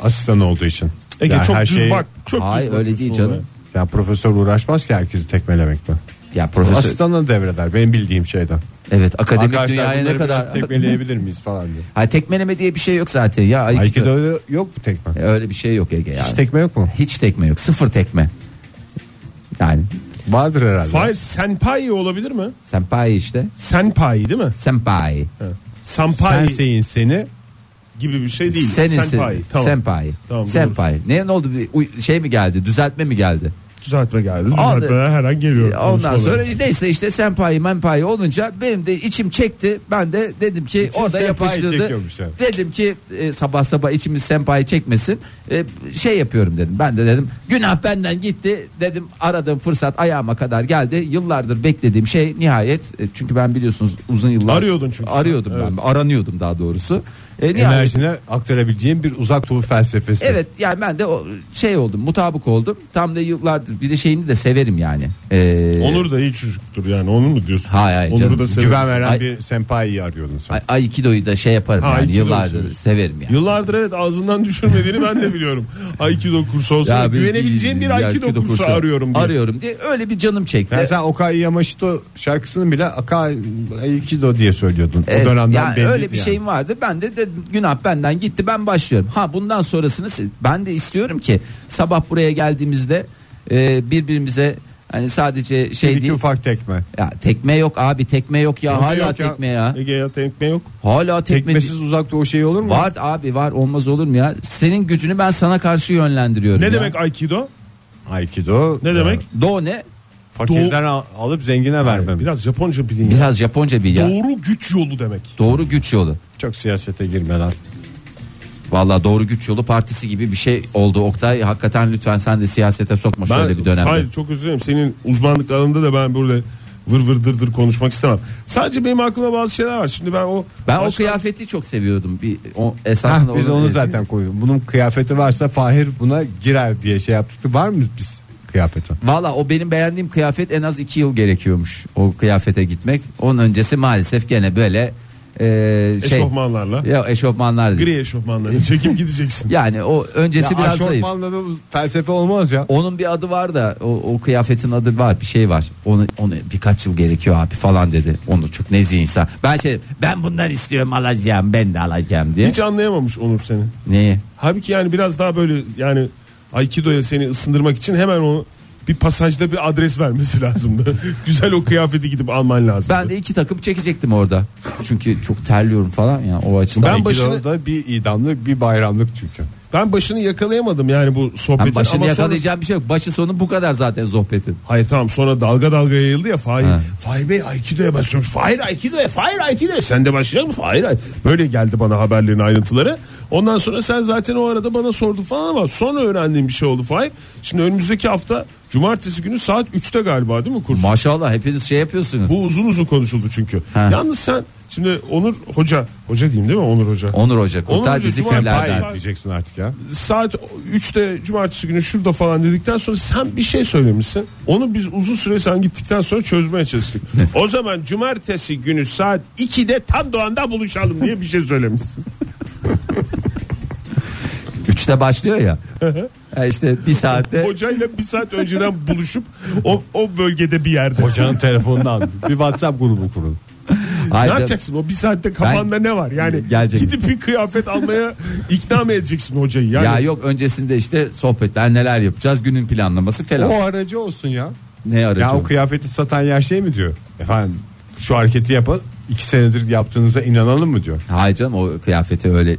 Speaker 2: Asistan olduğu için.
Speaker 3: Ege
Speaker 2: Yani
Speaker 3: çok
Speaker 2: her şey-
Speaker 3: düz
Speaker 2: şeyi-
Speaker 3: bak. Çok
Speaker 4: Hayır
Speaker 3: düz bakıyorsun
Speaker 4: öyle değil canım.
Speaker 2: Ya profesör uğraşmaz ki herkesi tekmelemekle.
Speaker 4: Ya profesör
Speaker 2: Asistanla devreder benim bildiğim şeyden.
Speaker 4: Evet akademik
Speaker 2: Arkadaşlar
Speaker 4: dünyaya ne
Speaker 2: bunları biraz
Speaker 4: kadar
Speaker 2: tekmeleyebilir miyiz falan diye.
Speaker 4: Ha tekmeleme diye bir şey yok zaten ya Aikido.
Speaker 2: Aikido'da yok mu tekme?
Speaker 4: Öyle bir şey yok Ege yani.
Speaker 2: Hiç tekme yok mu?
Speaker 4: Hiç tekme yok. Sıfır tekme. Yani
Speaker 2: Vardır herhalde.
Speaker 3: Fahir senpai olabilir mi?
Speaker 4: senpai işte.
Speaker 3: Senpai değil mi?
Speaker 4: Senpai.
Speaker 3: Senpai
Speaker 2: Sensei'in seni
Speaker 3: gibi bir şey değil.
Speaker 4: Senin
Speaker 3: senpai.
Speaker 4: senpai.
Speaker 3: Tamam.
Speaker 4: Senpai.
Speaker 3: Tamam, doğru.
Speaker 4: senpai. Ne, ne oldu? Bir uy- şey mi geldi? Düzeltme mi geldi?
Speaker 3: Düzeltme geldi.
Speaker 4: Abi-
Speaker 3: Düzeltmeler her an geliyor.
Speaker 4: E, Ondan
Speaker 3: konuşmalara.
Speaker 4: sonra neyse işte senpai menpai olunca benim de içim çekti. Ben de dedim ki
Speaker 2: İçin
Speaker 4: orada
Speaker 2: senpai
Speaker 4: yapıştırdı.
Speaker 2: çekiyormuş yani.
Speaker 4: Dedim ki e, sabah sabah içimiz senpai çekmesin. E, şey yapıyorum dedim. Ben de dedim günah benden gitti. Dedim aradığım fırsat ayağıma kadar geldi. Yıllardır beklediğim şey nihayet e, çünkü ben biliyorsunuz uzun yıllar
Speaker 3: Arıyordun çünkü sen.
Speaker 4: Arıyordum ben. Aranıyordum daha doğrusu. E, nihayet-
Speaker 2: enerjine aktarabileceğin bir uzak doğu felsefesi.
Speaker 4: Evet yani ben de o- şey oldum mutabık oldum. Tam da yıllardır bir de şeyini de severim yani. E,
Speaker 3: Onur da iyi çocuktur yani onu mu diyorsun?
Speaker 4: Hayır, hayır
Speaker 3: Onur'u
Speaker 4: canım.
Speaker 3: da severim.
Speaker 2: Güven veren
Speaker 4: Ay-
Speaker 2: bir senpaiyi arıyordun sen.
Speaker 4: Ay- Aikido'yu da şey yaparım
Speaker 3: Ha,
Speaker 4: yani
Speaker 3: Aikido'yu
Speaker 4: yıllardır
Speaker 3: seviyorsun.
Speaker 4: severim yani.
Speaker 3: Yıllardır evet ağzından düşürmediğini ben de biliyorum.
Speaker 4: [laughs]
Speaker 3: Aikido kursu olsa
Speaker 4: Ya bir-
Speaker 3: güvenebileceğim bir Aikido, kursu, arıyorum diye.
Speaker 4: Arıyorum diye öyle bir canım çekti.
Speaker 2: Yani sen Okai Yamashito şarkısını bile Akai Aikido diye söylüyordun.
Speaker 4: Evet,
Speaker 2: o dönemden
Speaker 4: yani
Speaker 2: belliydi
Speaker 4: öyle bir şey-
Speaker 2: yani.
Speaker 4: şeyim vardı. Ben de, dedim günah benden gitti. Ben başlıyorum. Ha bundan sonrasını siz- ben de istiyorum ki sabah buraya geldiğimizde e, birbirimize hani sadece
Speaker 2: Bir
Speaker 4: şey
Speaker 2: iki
Speaker 4: değil.
Speaker 2: ufak tekme.
Speaker 4: Ya tekme yok abi tekme yok ya.
Speaker 2: Tekme
Speaker 4: hala
Speaker 2: yok ya.
Speaker 4: tekme ya.
Speaker 3: Ege ya tekme yok.
Speaker 4: Hala tekme.
Speaker 2: Tekmesiz uzak doğu şeyi olur mu?
Speaker 4: Var abi var olmaz olur mu ya? Senin gücünü ben sana karşı yönlendiriyorum.
Speaker 3: Ne
Speaker 4: ya.
Speaker 3: demek Aikido?
Speaker 2: Aikido.
Speaker 3: Ne demek?
Speaker 4: Do ne?
Speaker 2: Fakirden al- alıp zengine vermem.
Speaker 3: Biraz Japonca bilin ya.
Speaker 4: Biraz Japonca bil ya. Doğru,
Speaker 3: Doğru güç yolu demek.
Speaker 4: güç yolu.
Speaker 2: Çok siyasete girmeden.
Speaker 4: Vallahi doğru güç yolu partisi gibi bir şey oldu Oktay. Hakikaten lütfen sen de siyasete sokma şöyle bir dönemde.
Speaker 3: Hayır çok özür dilerim. Senin uzmanlık alanında da ben böyle vır vır dır dır konuşmak istemem. Sadece benim aklımda bazı şeyler var. Şimdi ben o
Speaker 4: Ben o
Speaker 3: başka-
Speaker 4: kıyafeti çok seviyordum. Bir o
Speaker 2: Hah,
Speaker 4: esasında
Speaker 2: biz
Speaker 4: onun-
Speaker 2: onu zaten koyduk. Bunun kıyafeti varsa Fahir buna girer diye şey yaptık. Var mı biz kıyafeti?
Speaker 4: Valla o benim beğendiğim kıyafet en az 2 yıl gerekiyormuş o kıyafete gitmek. Onun öncesi maalesef gene böyle e, şey.
Speaker 3: Eşofmanlarla.
Speaker 4: Ya eşofmanlar değil.
Speaker 3: gri eşofmanlarla
Speaker 4: [laughs]
Speaker 3: çekip gideceksin.
Speaker 4: Yani o öncesi
Speaker 2: Ya
Speaker 4: biraz zayıf.
Speaker 2: aşortmanla da felsefe olmaz ya.
Speaker 4: Onun bir adı var da o, o kıyafetin adı var bir şey var. Onu, onu birkaç yıl gerekiyor abi falan dedi. Onu çok nezih insan. Ben şey ben bundan istiyorum alacağım ben de alacağım diye.
Speaker 3: Hiç anlayamamış Onur seni.
Speaker 4: Neyi?
Speaker 3: Halbuki yani biraz daha böyle yani Aikido'ya seni ısındırmak için hemen onu bir pasajda bir adres vermesi [laughs] lazımdı. Güzel o kıyafeti gidip alman lazım.
Speaker 4: Ben de iki takım çekecektim orada. Çünkü çok terliyorum falan ya o açıdan.
Speaker 3: Ben
Speaker 2: Ben
Speaker 3: başını-
Speaker 2: başını... da bir idamlık bir bayramlık çünkü.
Speaker 3: Ben başını yakalayamadım yani bu
Speaker 4: Ben
Speaker 3: sohbetin
Speaker 4: başını
Speaker 3: ama sonra...
Speaker 4: yakalayacağım bir şey yok. Başı sonu bu kadar zaten sohbetin.
Speaker 3: Hayır tamam sonra dalga dalga yayıldı ya Fahir.
Speaker 4: Ha.
Speaker 3: Fahir Bey Aikido'ya başlamış. Fahir Aikido'ya, Fahir Aikido'ya. Sen de başlayacak mısın? Fahir Aikido'ya. Böyle geldi bana haberlerin ayrıntıları. Ondan sonra sen zaten o arada bana sordun falan ama sonra öğrendiğim bir şey oldu Fahir. Şimdi önümüzdeki hafta cumartesi günü saat 3'te galiba değil mi kurs?
Speaker 4: Maşallah hepiniz şey yapıyorsunuz.
Speaker 3: Bu uzun uzun konuşuldu çünkü.
Speaker 4: Ha.
Speaker 3: Yalnız sen şimdi Onur Hoca, hoca diyeyim değil mi Onur Hoca?
Speaker 4: Onur Hoca kurtar
Speaker 3: Onur
Speaker 4: bizi
Speaker 3: Hoca, cumartesi-
Speaker 4: kirlerden.
Speaker 2: Hayır diyeceksin artık ya.
Speaker 3: saat 3'te cumartesi günü şurada falan dedikten sonra sen bir şey söylemişsin. Onu biz uzun süre sen gittikten sonra
Speaker 4: [laughs]
Speaker 3: çözmeye çalıştık. o zaman cumartesi günü saat 2'de tam Doğan'da buluşalım diye bir şey
Speaker 4: [laughs]
Speaker 3: söylemişsin.
Speaker 4: Üçte başlıyor ya. ya işte bir saatte
Speaker 3: Hocayla bir saat önceden buluşup o, o bölgede bir yerde.
Speaker 2: Hocanın telefonundan bir WhatsApp grubu kurun.
Speaker 3: Ne
Speaker 4: Ayrıca-
Speaker 3: yapacaksın o bir saatte kafanda ne var yani
Speaker 4: Gelecek.
Speaker 3: gidip bir kıyafet almaya ikna mı edeceksin hocayı yani
Speaker 4: Ya yok öncesinde işte sohbetler neler yapacağız günün planlaması falan.
Speaker 2: O aracı olsun ya.
Speaker 4: ne aracı?
Speaker 2: Ya o
Speaker 4: o?
Speaker 2: kıyafeti satan yer şey mi diyor? Efendim şu hareketi yapın. iki senedir yaptığınıza inanalım mı diyor.
Speaker 4: Hayır canım o kıyafeti öyle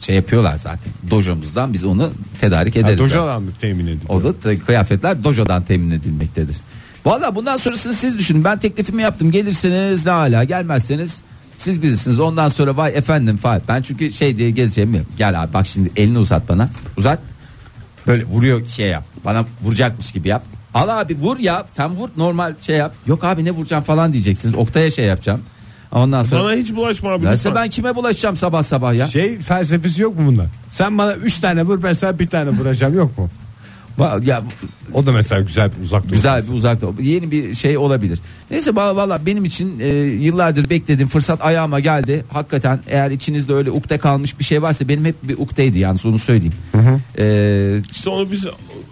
Speaker 4: şey yapıyorlar zaten. Dojomuzdan biz onu tedarik ederiz.
Speaker 2: Yani dojadan mı temin ediliyor?
Speaker 4: O da te- kıyafetler dojodan temin edilmektedir. Valla bundan sonrasını siz düşünün. Ben teklifimi yaptım. Gelirsiniz ne hala gelmezseniz siz bilirsiniz. Ondan sonra vay efendim falan. Ben çünkü şey diye gezeceğim yok. Gel abi bak şimdi elini uzat bana. Uzat. Böyle vuruyor şey yap. Bana vuracakmış gibi yap. Al abi vur ya. Sen vur normal şey yap. Yok abi ne vuracağım falan diyeceksiniz. Oktay'a şey yapacağım. Ondan sonra.
Speaker 3: bana hiç bulaşma abi
Speaker 4: Ya
Speaker 3: lütfen.
Speaker 4: işte ben kime bulaşacağım sabah sabah ya?
Speaker 2: Şey felsefesi yok mu bunda? Sen bana 3 tane vur ben sana bir tane vuracağım yok mu?
Speaker 4: Va- ya
Speaker 2: O da mesela güzel bir uzak dur.
Speaker 4: Güzel bir uzakta yeni bir şey olabilir. Neyse valla valla benim için e, yıllardır beklediğim fırsat ayağıma geldi. Hakikaten eğer içinizde öyle ukde kalmış bir şey varsa benim hep bir ukteydi yani onu söyleyeyim. E,
Speaker 3: İşte onu biz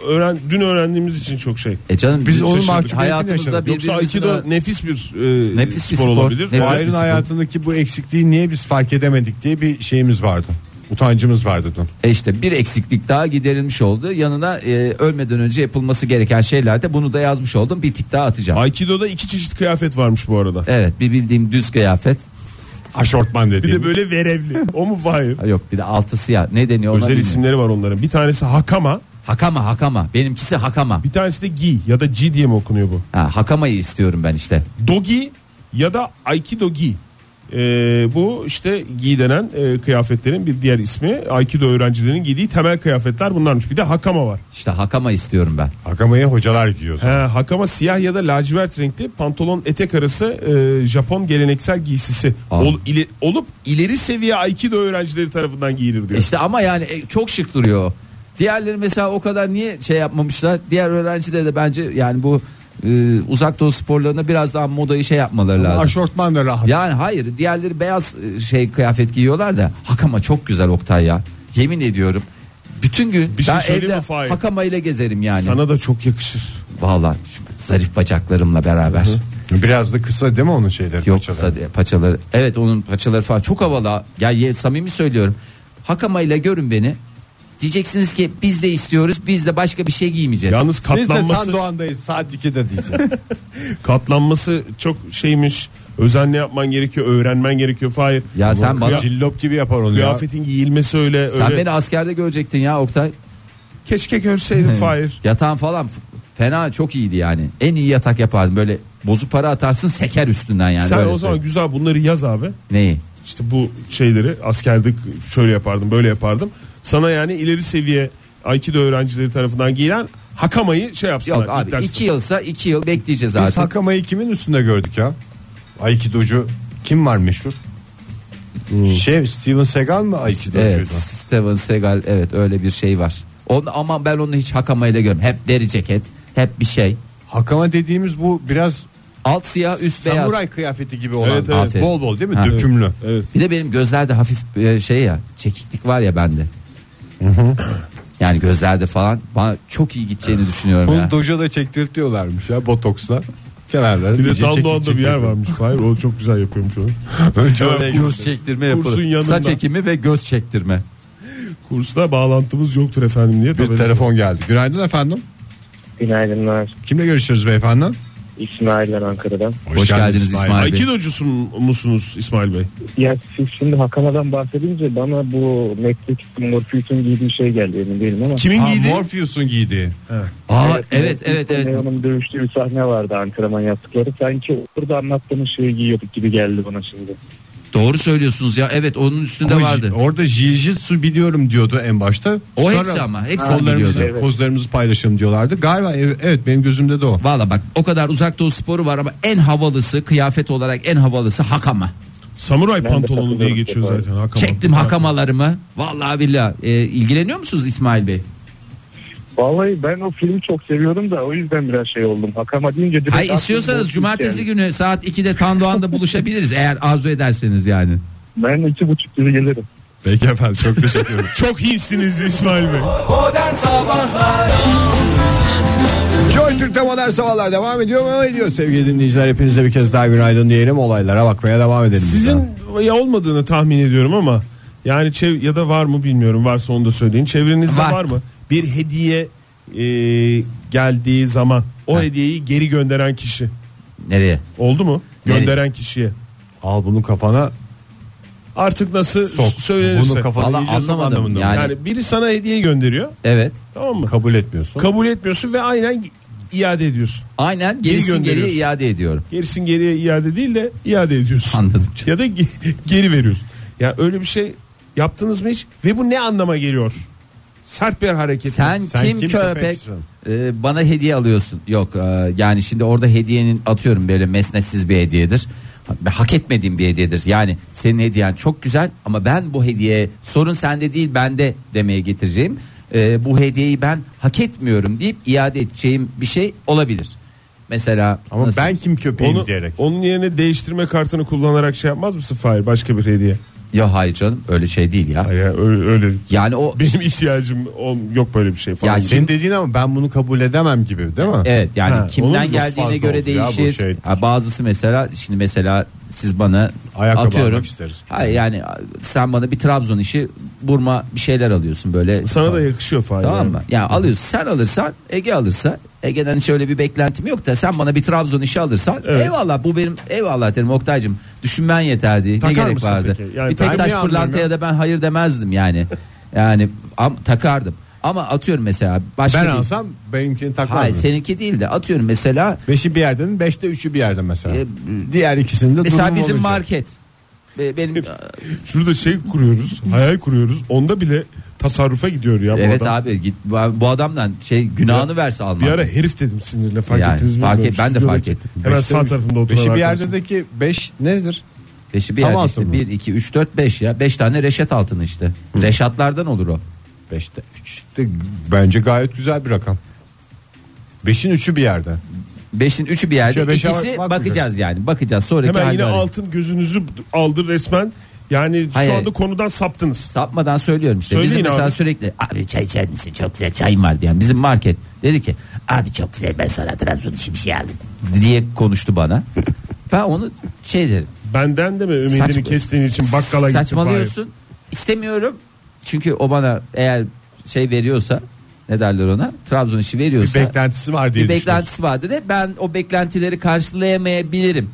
Speaker 3: öğren dün öğrendiğimiz için çok şey
Speaker 4: e canım
Speaker 2: Biz
Speaker 4: bizim
Speaker 2: onun
Speaker 3: şaşırdık.
Speaker 2: mahcubiyetini yaşadık.
Speaker 4: hayatımızda bir
Speaker 3: Yoksa Aikido nefis bir e,
Speaker 4: Nefis bir
Speaker 3: spor,
Speaker 4: spor.
Speaker 3: olabilir.
Speaker 4: Nefis
Speaker 3: Fahir-
Speaker 2: Fahir'in hayatındaki bu eksikliği niye biz fark edemedik diye bir şeyimiz vardı. Utancımız vardı dün.
Speaker 4: E işte bir eksiklik daha giderilmiş oldu. Yanına e, ölmeden önce yapılması gereken şeylerde bunu da yazmış oldum. Bir tık daha atacağım.
Speaker 3: Aikido'da iki çeşit kıyafet varmış bu arada.
Speaker 4: Evet bir bildiğim düz kıyafet.
Speaker 2: Aşortman
Speaker 3: Bir de
Speaker 2: dediğim.
Speaker 3: böyle verevli. O mu
Speaker 4: [laughs]
Speaker 3: Fahir?
Speaker 4: Ha, Yok bir de altı siyah. Ne deniyor ona
Speaker 3: Özel
Speaker 4: bilmiyorum.
Speaker 3: isimleri var onların. Bir tanesi Hakama,
Speaker 4: Hakama hakama. Benimkisi hakama.
Speaker 3: bir tanesi de Gi ya da G diye mi okunuyor bu?
Speaker 4: Ha, hakamayı istiyorum ben işte.
Speaker 3: Dogi ya da Aikido Gi. Ee, bu işte gi denen e, kıyafetlerin bir diğer ismi. Aikido öğrencilerinin giydiği temel kıyafetler bunlarmış. Bir de hakama var.
Speaker 4: İşte hakama istiyorum ben.
Speaker 2: Akamayı hocalar giyiyor.
Speaker 3: He, hakama siyah ya da lacivert renkli pantolon etek arası e, Japon geleneksel giysisi.
Speaker 4: Aa.
Speaker 3: Ol- ile- olup ileri seviye Aikido öğrencileri tarafından giyilir diyor.
Speaker 4: İşte ama yani e, çok şık duruyor. o. Diğerleri mesela o kadar niye şey yapmamışlar? Diğer öğrenciler de bence yani bu e, uzak doğu sporlarına biraz daha modayı şey yapmaları [laughs] lazım.
Speaker 2: Aşortman da rahat.
Speaker 4: Yani hayır diğerleri beyaz e, şey kıyafet giyiyorlar da Hakama çok güzel Oktay ya. Yemin ediyorum. Bütün gün
Speaker 3: Bir şey
Speaker 4: ben
Speaker 3: söyleyeyim
Speaker 4: evde
Speaker 3: mi Fahir?
Speaker 4: Hakama ile gezerim yani.
Speaker 3: Sana da çok yakışır.
Speaker 4: Vallahi şu zarif bacaklarımla beraber.
Speaker 2: Biraz da kısa değil mi onun şeyleri?
Speaker 4: Yok
Speaker 2: paçaları?
Speaker 4: paçaları. paçaları. Evet onun paçaları falan çok havalı. Ya ye, samimi söylüyorum. Hakama ile görün beni. Diyeceksiniz ki biz de istiyoruz. Biz de başka bir şey giymeyeceğiz.
Speaker 3: Yalnız
Speaker 2: Biz de tam
Speaker 3: katlanması
Speaker 2: Doğan'dayız saat 2'de diyeceğiz.
Speaker 3: katlanması çok şeymiş. Özenle yapman gerekiyor, öğrenmen gerekiyor. Hayır.
Speaker 4: Ya sen
Speaker 3: kıya-
Speaker 4: bana-
Speaker 2: Cillop gibi yapar onu ya.
Speaker 3: kıyafetin giyilmesi öyle
Speaker 4: Sen
Speaker 3: öyle.
Speaker 4: beni askerde görecektin ya Oktay. [laughs]
Speaker 3: Keşke görseydin Fahir.
Speaker 4: Yatağın falan f- Fena çok iyiydi yani. En iyi yatak yapardım. Böyle bozuk para atarsın seker üstünden yani.
Speaker 3: Sen
Speaker 4: Böyle
Speaker 3: o zaman
Speaker 4: söyleyeyim.
Speaker 3: güzel bunları yaz abi.
Speaker 4: Neyi?
Speaker 3: İşte bu şeyleri askerlik şöyle yapardım böyle yapardım. Sana yani ileri seviye Aikido öğrencileri tarafından giyilen hakamayı şey yapsınlar.
Speaker 4: Yok abi
Speaker 3: ilk ders-
Speaker 4: 2 yılsa 2 yıl bekleyeceğiz
Speaker 2: Biz
Speaker 4: artık.
Speaker 2: Hakamayı kimin üstünde gördük ya? Aikidocu kim var meşhur?
Speaker 3: Hmm.
Speaker 2: Şey Steven Seagal mı Aikido'cuydu?
Speaker 4: Evet, Steven Seagal evet öyle bir şey var. Onu, ama ben onu hiç hakamayla görmedim. Hep deri ceket, hep bir şey.
Speaker 2: Hakama dediğimiz bu biraz
Speaker 4: Alt siyah, üst beyaz.
Speaker 2: samuray kıyafeti gibi olan.
Speaker 3: Evet, evet.
Speaker 2: Aferin. Bol bol değil mi?
Speaker 4: Ha.
Speaker 2: Dökümlü.
Speaker 3: Evet.
Speaker 4: Bir de benim gözlerde hafif e, şey ya çekiklik var ya bende. yani gözlerde falan bana çok iyi gideceğini düşünüyorum ya.
Speaker 2: Bunu dojada çektirtiyorlarmış ya botoksla. Kenarlara.
Speaker 3: Bir de
Speaker 2: iyice çekil
Speaker 3: Daldoğan'da bir
Speaker 2: çekil.
Speaker 3: yer varmış. Hayır o çok güzel yapıyormuş onu.
Speaker 2: [laughs] Önce
Speaker 3: Hemen
Speaker 2: oraya
Speaker 3: kurs-
Speaker 2: götür.
Speaker 4: Göz çektirme
Speaker 3: Kursun
Speaker 4: yapılır.
Speaker 3: yanında.
Speaker 4: Saç ekimi ve göz çektirme.
Speaker 3: Kursta bağlantımız yoktur efendim diye.
Speaker 2: Bir
Speaker 3: tabelası-
Speaker 2: telefon geldi. Günaydın efendim.
Speaker 5: Günaydınlar.
Speaker 2: Kimle görüşüyoruz beyefendi?
Speaker 5: İsmail ben Ankara'dan.
Speaker 4: Hoş geldiniz İsmail. Bey.
Speaker 3: Aikidocusu musunuz İsmail Bey?
Speaker 5: Ya siz şimdi Hakama'dan bahsedince bana bu Netflix Morpheus'un giydiği şey geldi emin değilim ama.
Speaker 3: Kimin
Speaker 2: Ha,
Speaker 3: giydiği?
Speaker 2: Morpheus'un giydiği.
Speaker 4: Aa evet evet
Speaker 5: Morpheus'un
Speaker 4: evet.
Speaker 5: Neon'un dövüştüğü bir sahne vardı Antrenman yaptıkları. Sanki orada anlattığınız şeyi giyiyorduk gibi geldi bana şimdi.
Speaker 4: Doğru söylüyorsunuz ya. Evet onun üstünde
Speaker 2: Ama
Speaker 4: vardı.
Speaker 2: ji- Orada jiu-jitsu biliyorum diyordu en başta.
Speaker 4: O hepsi ama, hepsi
Speaker 2: kollarımızı,
Speaker 4: biliyordu.
Speaker 5: Evet.
Speaker 2: pozlarımızı paylaşalım diyorlardı. Galiba ev- evet benim gözümde de o.
Speaker 4: Valla bak o kadar uzak doğu sporu var ama en havalısı kıyafet olarak en havalısı hakama.
Speaker 3: Samuray
Speaker 5: de
Speaker 3: pantolonu diye
Speaker 5: katılıyorum
Speaker 3: geçiyor
Speaker 5: tekrar.
Speaker 3: zaten. Hakama.
Speaker 4: Çektim hakamalarımı. Vallahi billahi. Ee, ilgileniyor musunuz İsmail Bey?
Speaker 5: Vallahi ben o filmi çok seviyorum da o yüzden biraz şey oldum. Hakama deyince direkt...
Speaker 4: Ay
Speaker 5: aklıma
Speaker 4: istiyorsanız
Speaker 5: Morpheus
Speaker 4: cumartesi
Speaker 5: geldi.
Speaker 4: günü saat 2'de Tandoğan'da buluşabiliriz eğer arzu ederseniz yani.
Speaker 5: Ben iki buçuk gibi gelirim.
Speaker 2: Peki efendim çok teşekkür ederim.
Speaker 3: Çok iyisiniz İsmail
Speaker 2: [laughs]
Speaker 3: Bey.
Speaker 2: Joy Türk'te modern sabahlar devam ediyor mu? Ediyor sevgili dinleyiciler. Hepinize bir kez daha günaydın diyelim. Olaylara bakmaya devam edelim.
Speaker 3: Sizin ya olmadığını tahmin ediyorum ama yani çev- ya da var mı bilmiyorum. Varsa onu da söyleyin. Çevrenizde
Speaker 4: Var.
Speaker 3: var, mı? Bir hediye e, geldiği zaman o hediyeyi geri gönderen kişi
Speaker 4: Nereye?
Speaker 3: oldu mu?
Speaker 4: Nereye?
Speaker 3: Gönderen kişiye.
Speaker 2: Al bunu kafana.
Speaker 3: Artık nasıl
Speaker 2: Sok.
Speaker 3: söylenirse.
Speaker 2: Bunu kafana
Speaker 4: Valla
Speaker 2: yiyeceğiz
Speaker 4: anlamadım
Speaker 2: anlamında mı?
Speaker 4: yani.
Speaker 3: Yani biri sana hediye gönderiyor.
Speaker 4: Evet.
Speaker 3: Tamam mı?
Speaker 2: Kabul etmiyorsun.
Speaker 3: Kabul etmiyorsun ve aynen iade ediyorsun.
Speaker 4: Aynen
Speaker 3: Geri
Speaker 4: gerisin geriye
Speaker 3: gönderiyorsun.
Speaker 4: iade ediyorum.
Speaker 3: Gerisin geriye iade değil de iade ediyorsun.
Speaker 4: Anladım.
Speaker 3: ya da ge- geri veriyorsun. Ya öyle bir şey yaptınız mı hiç? Ve bu ne anlama geliyor? Sert bir hareket.
Speaker 4: Sen,
Speaker 2: Sen
Speaker 4: kim,
Speaker 2: kim
Speaker 4: köpek?
Speaker 2: köpeksin?
Speaker 4: Ee, bana hediye alıyorsun. Yok e, yani şimdi orada hediyenin atıyorum böyle mesnetsiz bir hediyedir. Ha- Hak etmediğim bir hediyedir. Yani senin hediyen çok güzel ama ben bu hediye sorun sende değil bende demeye getireceğim. Ee, bu hediyeyi ben hak etmiyorum deyip iade edeceğim bir şey olabilir. Mesela
Speaker 2: Ama
Speaker 4: nasıl?
Speaker 2: ben kim köpeğim
Speaker 3: onu,
Speaker 2: diyerek.
Speaker 3: onun yerine değiştirme kartını kullanarak şey yapmaz mısın Fahir? Başka bir hediye.
Speaker 4: Ya hayır canım öyle şey değil ya.
Speaker 3: Hayır öyle, öyle.
Speaker 4: Yani o
Speaker 3: Benim ihtiyacım ol- yok böyle bir şey falan.
Speaker 4: Ya
Speaker 2: Senin dediğin ama ben bunu kabul edemem gibi değil mi?
Speaker 4: Evet yani
Speaker 3: Ha,
Speaker 2: onun
Speaker 4: kimden
Speaker 2: çok
Speaker 4: geldiğine
Speaker 2: fazla
Speaker 4: göre
Speaker 2: oldu ya bu
Speaker 4: değişir.
Speaker 2: şey.
Speaker 4: Ha, bazısı mesela şimdi mesela siz bana
Speaker 2: Ayakkabı
Speaker 4: atıyorum.
Speaker 2: almak isteriz.
Speaker 4: Hayır yani sen bana bir Trabzon işi burma bir şeyler alıyorsun böyle.
Speaker 3: Sana da yakışıyor Fahir.
Speaker 4: Tamam
Speaker 3: yani.
Speaker 4: mı? Ya alıyorsun sen alırsan Ege alırsa Ege'den hiç öyle bir beklentim yok da sen bana bir Trabzon işi alırsan
Speaker 3: Evet.
Speaker 4: eyvallah bu benim eyvallah derim Oktay'cım düşünmen yeterdi ne
Speaker 3: Takar
Speaker 4: gerek
Speaker 3: mısın
Speaker 4: vardı.
Speaker 3: peki? Yani
Speaker 4: bir tek
Speaker 3: ben
Speaker 4: taş
Speaker 2: niye anlıyorum
Speaker 4: pırlantaya
Speaker 2: ya?
Speaker 4: da ben hayır demezdim
Speaker 3: [laughs]
Speaker 4: yani. yani am- takardım ama atıyorum mesela başka
Speaker 2: Ben
Speaker 4: bir-
Speaker 2: alsam benimkini takmam.
Speaker 4: Hayır seninki değil de atıyorum mesela
Speaker 2: Beşi bir yerden, beşte üçü bir yerden mesela.
Speaker 4: E,
Speaker 2: Diğer ikisinde de
Speaker 4: Mesela
Speaker 2: durumum
Speaker 4: bizim
Speaker 2: olacak.
Speaker 4: market. Be- Benim e,
Speaker 3: Şurada şey kuruyoruz, hayal kuruyoruz. Onda bile tasarrufa gidiyor ya bu
Speaker 4: evet
Speaker 3: adam.
Speaker 4: abi git bu adamdan şey günahını verse alma.
Speaker 3: Bir ara herif dedim sinirle fark
Speaker 4: Yani
Speaker 3: ettiniz mi?
Speaker 4: fark et-
Speaker 3: bilmiyorum.
Speaker 4: ben de
Speaker 3: Stüdyodaki-
Speaker 4: fark ettim.
Speaker 3: Hemen
Speaker 2: Beşte
Speaker 3: sağ
Speaker 2: üç-
Speaker 3: tarafımda oturan
Speaker 2: Beşi bir
Speaker 3: arkadaşım.
Speaker 2: yerdeki beş nedir?
Speaker 4: Beşi bir
Speaker 2: Tam
Speaker 4: yerde
Speaker 2: altın
Speaker 4: işte
Speaker 2: mı?
Speaker 4: 1 2 3 4 5 ya 5 tane reşat altını işte. Reşatlardan olur o.
Speaker 2: Beşte üç. De, bence gayet güzel bir rakam. Beşin üçü bir yerde.
Speaker 4: 5'in 3'ü bir yerde.
Speaker 2: Üçe, beşe bak-
Speaker 4: İkisi
Speaker 2: bakmayacak.
Speaker 4: bakacağız yani. Bakacağız sonraki
Speaker 3: Hemen yine
Speaker 4: haline.
Speaker 3: altın gözünüzü aldı resmen. Yani
Speaker 4: Hayır,
Speaker 3: şu
Speaker 4: hayır.
Speaker 3: anda konudan saptınız.
Speaker 4: Sapmadan söylüyorum işte.
Speaker 3: Söyleyin
Speaker 4: bizim mesela
Speaker 3: abi.
Speaker 4: sürekli abi çay içer misin? Çok güzel çayım var diyen bizim market dedi ki abi çok güzel ben sana Trabzon işi bir şey aldım diye konuştu bana. ben onu şey derim.
Speaker 3: Benden de mi ümidini
Speaker 4: Saçma-
Speaker 3: kestiğin için bakkala gittin?
Speaker 4: Saçmalıyorsun. İstemiyorum. Çünkü o bana eğer şey veriyorsa ne derler ona? Trabzon işi
Speaker 2: Bir
Speaker 4: veriyorsa
Speaker 2: beklentisi var diye
Speaker 4: bir
Speaker 2: düşünüyorum.
Speaker 4: beklentisi vardır. ve Ben o beklentileri karşılayamayabilirim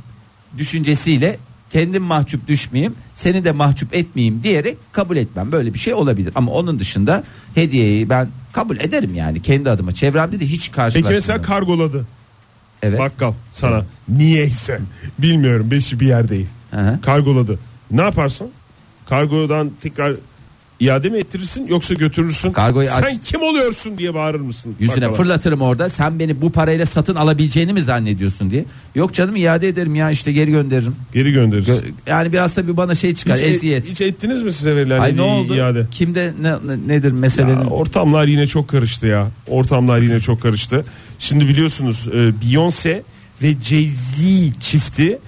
Speaker 4: düşüncesiyle kendim mahcup düşmeyeyim seni de mahcup etmeyeyim diyerek kabul etmem böyle bir şey olabilir ama onun dışında hediyeyi ben kabul ederim yani kendi adıma çevremde de hiç
Speaker 3: Peki
Speaker 4: karşılaşmadım.
Speaker 3: mesela kargoladı
Speaker 4: evet.
Speaker 3: bakkal sana niyeyse bilmiyorum beşi bir yer değil.
Speaker 4: Hı hı.
Speaker 3: Kargoladı. Ne yaparsın? Kargodan tekrar iade mi ettirirsin yoksa götürürsün?
Speaker 4: Kargoyu
Speaker 3: Sen
Speaker 4: aç-
Speaker 3: kim oluyorsun diye bağırır mısın?
Speaker 4: Yüzüne
Speaker 3: bakkala?
Speaker 4: fırlatırım orada sen beni bu parayla satın alabileceğini mi zannediyorsun diye. Yok canım iade ederim ya işte geri gönderirim.
Speaker 3: Geri gönderirsin.
Speaker 4: Gö- Yani biraz tabii bana şey çıkar
Speaker 3: hiç, e-
Speaker 4: eziyet.
Speaker 3: hiç ettiniz mi size verilen
Speaker 4: Ay ne
Speaker 3: hediye-
Speaker 4: oldu?
Speaker 3: iade?
Speaker 4: Kimde ne, ne- nedir meselenin?
Speaker 3: Ya, ortamlar yine çok karıştı ya. Ortamlar yine çok karıştı. Şimdi biliyorsunuz e, Beyoncé ve Jay-Z çifti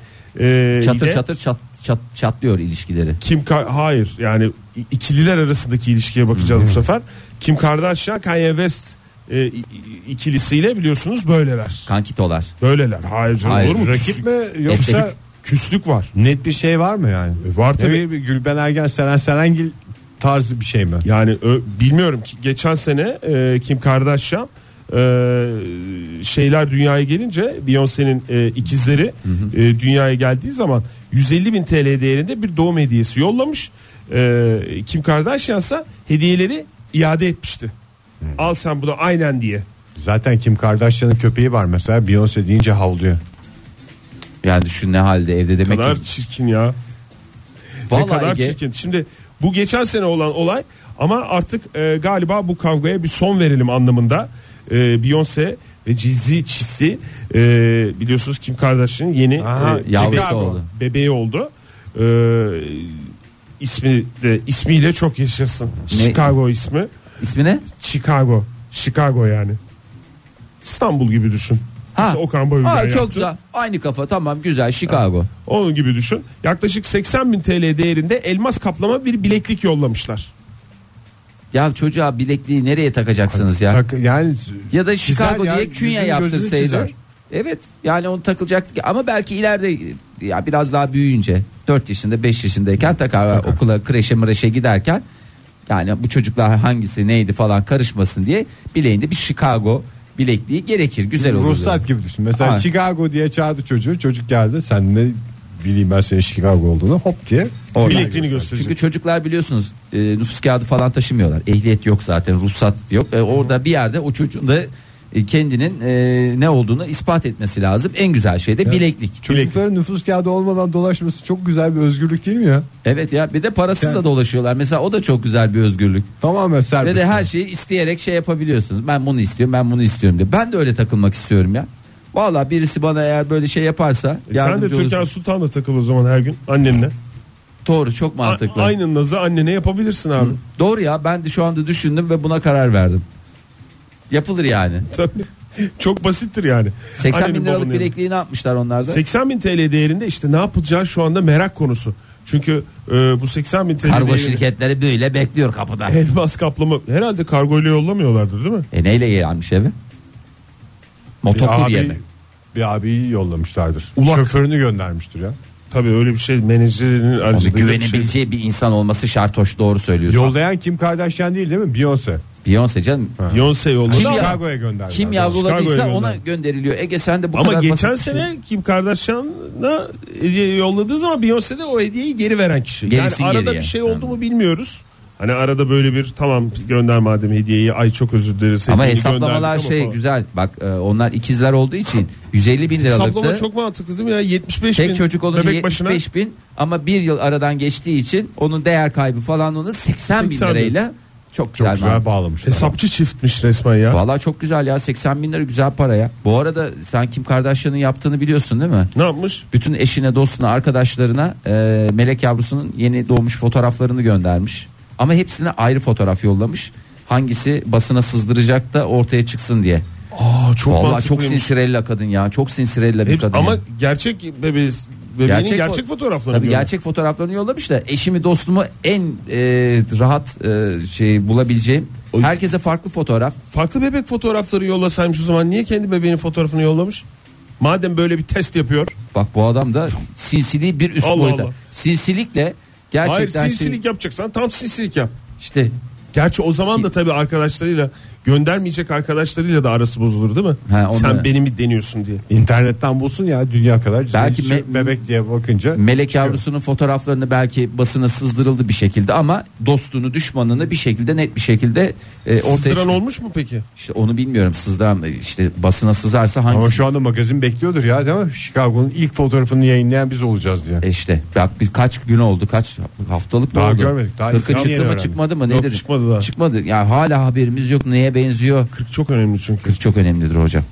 Speaker 3: e,
Speaker 4: çatır
Speaker 3: ile
Speaker 4: çatır çat, çat, çatlıyor ilişkileri.
Speaker 3: Kim Ka- hayır yani i- ikililer arasındaki ilişkiye bakacağız bu sefer. Kim Kardashian Kanye West e, i- i- ikilisiyle biliyorsunuz böyleler.
Speaker 4: Kankitolar.
Speaker 3: Böyleler. Hayır canım
Speaker 4: Hayır.
Speaker 3: olur mu?
Speaker 2: Rakip
Speaker 3: Küslük-
Speaker 2: mi yoksa
Speaker 4: Rakip.
Speaker 3: küslük var.
Speaker 2: net bir şey var mı yani?
Speaker 3: E, var tabii.
Speaker 2: Ne bir Gülben Ergen Seren Serengil tarzı bir şey mi?
Speaker 3: Yani ö- bilmiyorum ki geçen sene e, Kim Kardashian e, şeyler dünyaya gelince Beyoncé'nin e, ikizleri e, dünyaya geldiği zaman 150 bin TL değerinde bir doğum hediyesi yollamış. E, Kim Kardashian ise hediyeleri iade etmişti. Al sen bunu aynen diye.
Speaker 2: Zaten Kim Kardashian'ın köpeği var mesela Beyoncé deyince havlıyor.
Speaker 4: Yani düşün ne halde evde
Speaker 3: Ne
Speaker 4: demek
Speaker 3: kadar
Speaker 4: ki.
Speaker 3: çirkin ya.
Speaker 4: Vallahi
Speaker 3: ne kadar
Speaker 4: Ege,
Speaker 3: çirkin. Şimdi bu geçen sene olan olay ama artık e, galiba bu kavgaya bir son verelim anlamında. E, Beyoncé ve Jay-Z çifti e, biliyorsunuz Kim Kardashian'ın yeni
Speaker 2: Aha,
Speaker 3: e,
Speaker 4: yavrusu
Speaker 3: Chicago
Speaker 4: oldu.
Speaker 3: bebeği oldu. E, ismi de ismiyle çok yaşasın.
Speaker 4: Ne?
Speaker 3: Chicago ismi.
Speaker 4: İsmi ne?
Speaker 3: Chicago. Chicago yani. İstanbul gibi düşün.
Speaker 4: Ha.
Speaker 3: Biz Okan Bayülgen
Speaker 4: Aa, çok
Speaker 3: yaptı.
Speaker 4: güzel. Aynı kafa tamam güzel Chicago.
Speaker 3: Onun gibi düşün. Yaklaşık 80 bin TL değerinde elmas kaplama bir bileklik yollamışlar.
Speaker 4: Ya çocuğa bilekliği nereye takacaksınız ya?
Speaker 2: Tak- yani
Speaker 4: Ya da
Speaker 2: Çizer
Speaker 4: Chicago
Speaker 2: ya,
Speaker 4: diye künye
Speaker 2: yüzünü gözünü
Speaker 4: yaptırsaydı.
Speaker 2: çizer.
Speaker 4: Evet yani onu takılacaktı ama belki ileride ya biraz daha büyüyünce 4 yaşında 5 yaşındayken takar, okula kreşe mreşe giderken yani bu çocuklar hangisi neydi falan karışmasın diye bileğinde bir Chicago bilekliği gerekir güzel olur.
Speaker 2: Ruhsat gibi düşün. Mesela
Speaker 4: Aynen.
Speaker 2: Chicago diye çağırdı çocuğu. Çocuk geldi. Sen ne bileyim ben senin Chicago olduğunu hop diye. oradan
Speaker 3: Bilekliğini
Speaker 2: göster.
Speaker 3: gösterecek.
Speaker 4: Çünkü çocuklar biliyorsunuz e, nüfus kağıdı falan taşımıyorlar. Ehliyet yok zaten, ruhsat yok. E, orada bir yerde o çocuğun da e, kendinin e, ne olduğunu ispat etmesi lazım. En güzel şey de bileklik.
Speaker 2: Çocukların nüfus kağıdı olmadan dolaşması çok güzel bir özgürlük değil mi ya?
Speaker 4: Evet ya bir de parasız
Speaker 2: Yani-
Speaker 4: da dolaşıyorlar. Mesela o da çok güzel bir özgürlük.
Speaker 2: Tamamen
Speaker 4: Ve
Speaker 2: serbest.
Speaker 4: de her şeyi isteyerek şey yapabiliyorsunuz. Ben bunu istiyorum, ben bunu istiyorum diye. Ben de öyle takılmak istiyorum ya. Valla birisi bana eğer böyle şey yaparsa
Speaker 3: E sen de
Speaker 4: yardımcı
Speaker 3: Türkan
Speaker 4: olursun.
Speaker 3: Sultan'la takıl o zaman her gün annenle.
Speaker 4: Doğru çok
Speaker 3: A-
Speaker 4: mantıklı.
Speaker 3: aynı nazı annene yapabilirsin abi.
Speaker 4: Doğru ya ben de şu anda düşündüm ve buna karar verdim. Yapılır yani.
Speaker 3: [laughs] Tabii. Çok basittir yani.
Speaker 4: 80
Speaker 3: Annenin,
Speaker 4: bin liralık
Speaker 3: babanın
Speaker 4: bilekliği ne yapmışlar onlarda?
Speaker 3: yanında. 80 bin TL değerinde işte ne yapacağı şu anda merak konusu. Çünkü e, bu 80 bin TL
Speaker 4: Kargo
Speaker 3: değerinde
Speaker 4: şirketleri böyle bekliyor kapıda.
Speaker 3: elmas kaplama herhalde kargoyla yollamıyorlardır değil mi?
Speaker 4: E neyle gelmiş eve? Motokurye
Speaker 2: abi-
Speaker 4: mi?
Speaker 2: Bir abiyi yollamışlardır.
Speaker 3: Ulak.
Speaker 2: Şoförünü göndermiştir ya.
Speaker 3: Tabii öyle bir şey menajerinin
Speaker 4: Abi
Speaker 3: haricinde bir şey.
Speaker 4: güvenebileceği bir insan olması şart hoş doğru söylüyorsun.
Speaker 2: Yollayan Kim Kardashian değil değil mi? Beyoncé.
Speaker 4: Beyoncé canım.
Speaker 3: Beyoncé yolladı.
Speaker 4: Kim ya-
Speaker 2: Chicago'ya gönderdi.
Speaker 4: Kim
Speaker 3: Chicago'ya
Speaker 4: yavruladıysa ona
Speaker 3: gönder.
Speaker 4: gönderiliyor. Ege sen de bu
Speaker 3: Ama
Speaker 4: kadar
Speaker 3: geçen
Speaker 4: basit bir şey-
Speaker 3: sene Kim Kardashian'a hediye yolladığı zaman Beyoncé de o hediyeyi geri veren kişi.
Speaker 4: Gerisi
Speaker 3: yani arada
Speaker 4: geriye.
Speaker 3: bir şey oldu mu bilmiyoruz. Hani arada böyle bir tamam gönder madem hediyeyi ay çok özür dileriz.
Speaker 4: Ama
Speaker 3: hediyeni
Speaker 4: hesaplamalar
Speaker 3: gönderdik ama
Speaker 4: şey
Speaker 3: falan.
Speaker 4: güzel. Bak e, onlar ikizler olduğu için 150 bin
Speaker 3: Hesaplama
Speaker 4: liralıktı.
Speaker 3: çok mantıklı değil mi ya? 75 bin
Speaker 4: Tek çocuk olunca
Speaker 3: bebek başına
Speaker 4: 75 bin ama bir yıl aradan geçtiği için onun değer kaybı falan onu 80 bin
Speaker 3: 80 bin.
Speaker 4: lirayla çok
Speaker 2: Çok
Speaker 4: güzel.
Speaker 2: güzel
Speaker 4: mantık.
Speaker 2: bağlamışlar.
Speaker 3: hesapçı çiftmiş resmen ya.
Speaker 4: Valla çok güzel ya 80 bin lira güzel para ya. Bu arada sen Kim Kardashian'ın yaptığını biliyorsun değil mi?
Speaker 3: Ne yapmış?
Speaker 4: Bütün eşine dostuna arkadaşlarına e, melek yavrusunun yeni doğmuş fotoğraflarını göndermiş. Ama hepsine ayrı fotoğraf yollamış. Hangisi basına sızdıracak da ortaya çıksın diye.
Speaker 3: Aa çok
Speaker 4: Valla çok
Speaker 3: mantıklıymış.
Speaker 4: sinsirella kadın ya. Çok sinsirella bir
Speaker 3: Hep-
Speaker 4: kadın.
Speaker 3: ama
Speaker 4: ya.
Speaker 3: gerçek bebeği bebeğinin gerçek, gerçek fotoğraflarını
Speaker 4: Tabii
Speaker 3: gönder.
Speaker 4: gerçek fotoğraflarını yollamış da eşimi dostumu en e, rahat e, şey bulabileceğim.
Speaker 3: Oy.
Speaker 4: Herkese farklı fotoğraf.
Speaker 3: Farklı bebek fotoğrafları yollasaymış o zaman niye kendi bebeğinin fotoğrafını yollamış? Madem böyle bir test yapıyor.
Speaker 4: Bak bu adam da sinsiliği bir üst
Speaker 3: Allah
Speaker 4: boyda.
Speaker 3: Allah.
Speaker 4: Sinsilikle gerçekten
Speaker 3: Hayır
Speaker 4: şey-
Speaker 3: sinsilik yapacaksan tam sinsilik yap.
Speaker 4: işte
Speaker 3: Gerçi o zaman da tabii arkadaşlarıyla göndermeyecek arkadaşlarıyla da arası bozulur değil mi?
Speaker 4: He, onu-
Speaker 3: Sen beni mi deniyorsun diye.
Speaker 4: E,
Speaker 1: İnternetten bulsun ya dünya kadar.
Speaker 4: Belki
Speaker 1: Belki
Speaker 4: me-
Speaker 1: bebek diye bakınca
Speaker 4: Melek yavrusunun fotoğraflarını belki basına sızdırıldı bir şekilde ama dostunu düşmanını bir şekilde net bir şekilde e, ortaya
Speaker 3: Sızdıran
Speaker 4: çıkıyor.
Speaker 3: olmuş mu peki?
Speaker 4: İşte onu bilmiyorum sızdıran işte basına sızarsa
Speaker 1: ama
Speaker 4: hangisi?
Speaker 1: şu anda magazin bekliyordur ya değil mi? Chicago'nun ilk fotoğrafını yayınlayan biz olacağız diye.
Speaker 4: E işte bak bir kaç gün oldu kaç haftalık mı
Speaker 1: Daha
Speaker 4: oldu?
Speaker 1: görmedik, daha
Speaker 4: Kırkı
Speaker 1: İslam
Speaker 4: çıktı
Speaker 1: yeni
Speaker 4: mı
Speaker 1: öğrendik.
Speaker 4: çıkmadı mı
Speaker 3: Yok,
Speaker 4: nedir?
Speaker 3: çıkmadı daha.
Speaker 4: Çıkmadı. Yani hala haberimiz yok neye benziyor.
Speaker 3: Çok önemli çünkü.
Speaker 4: Kırk çok önemlidir hocam.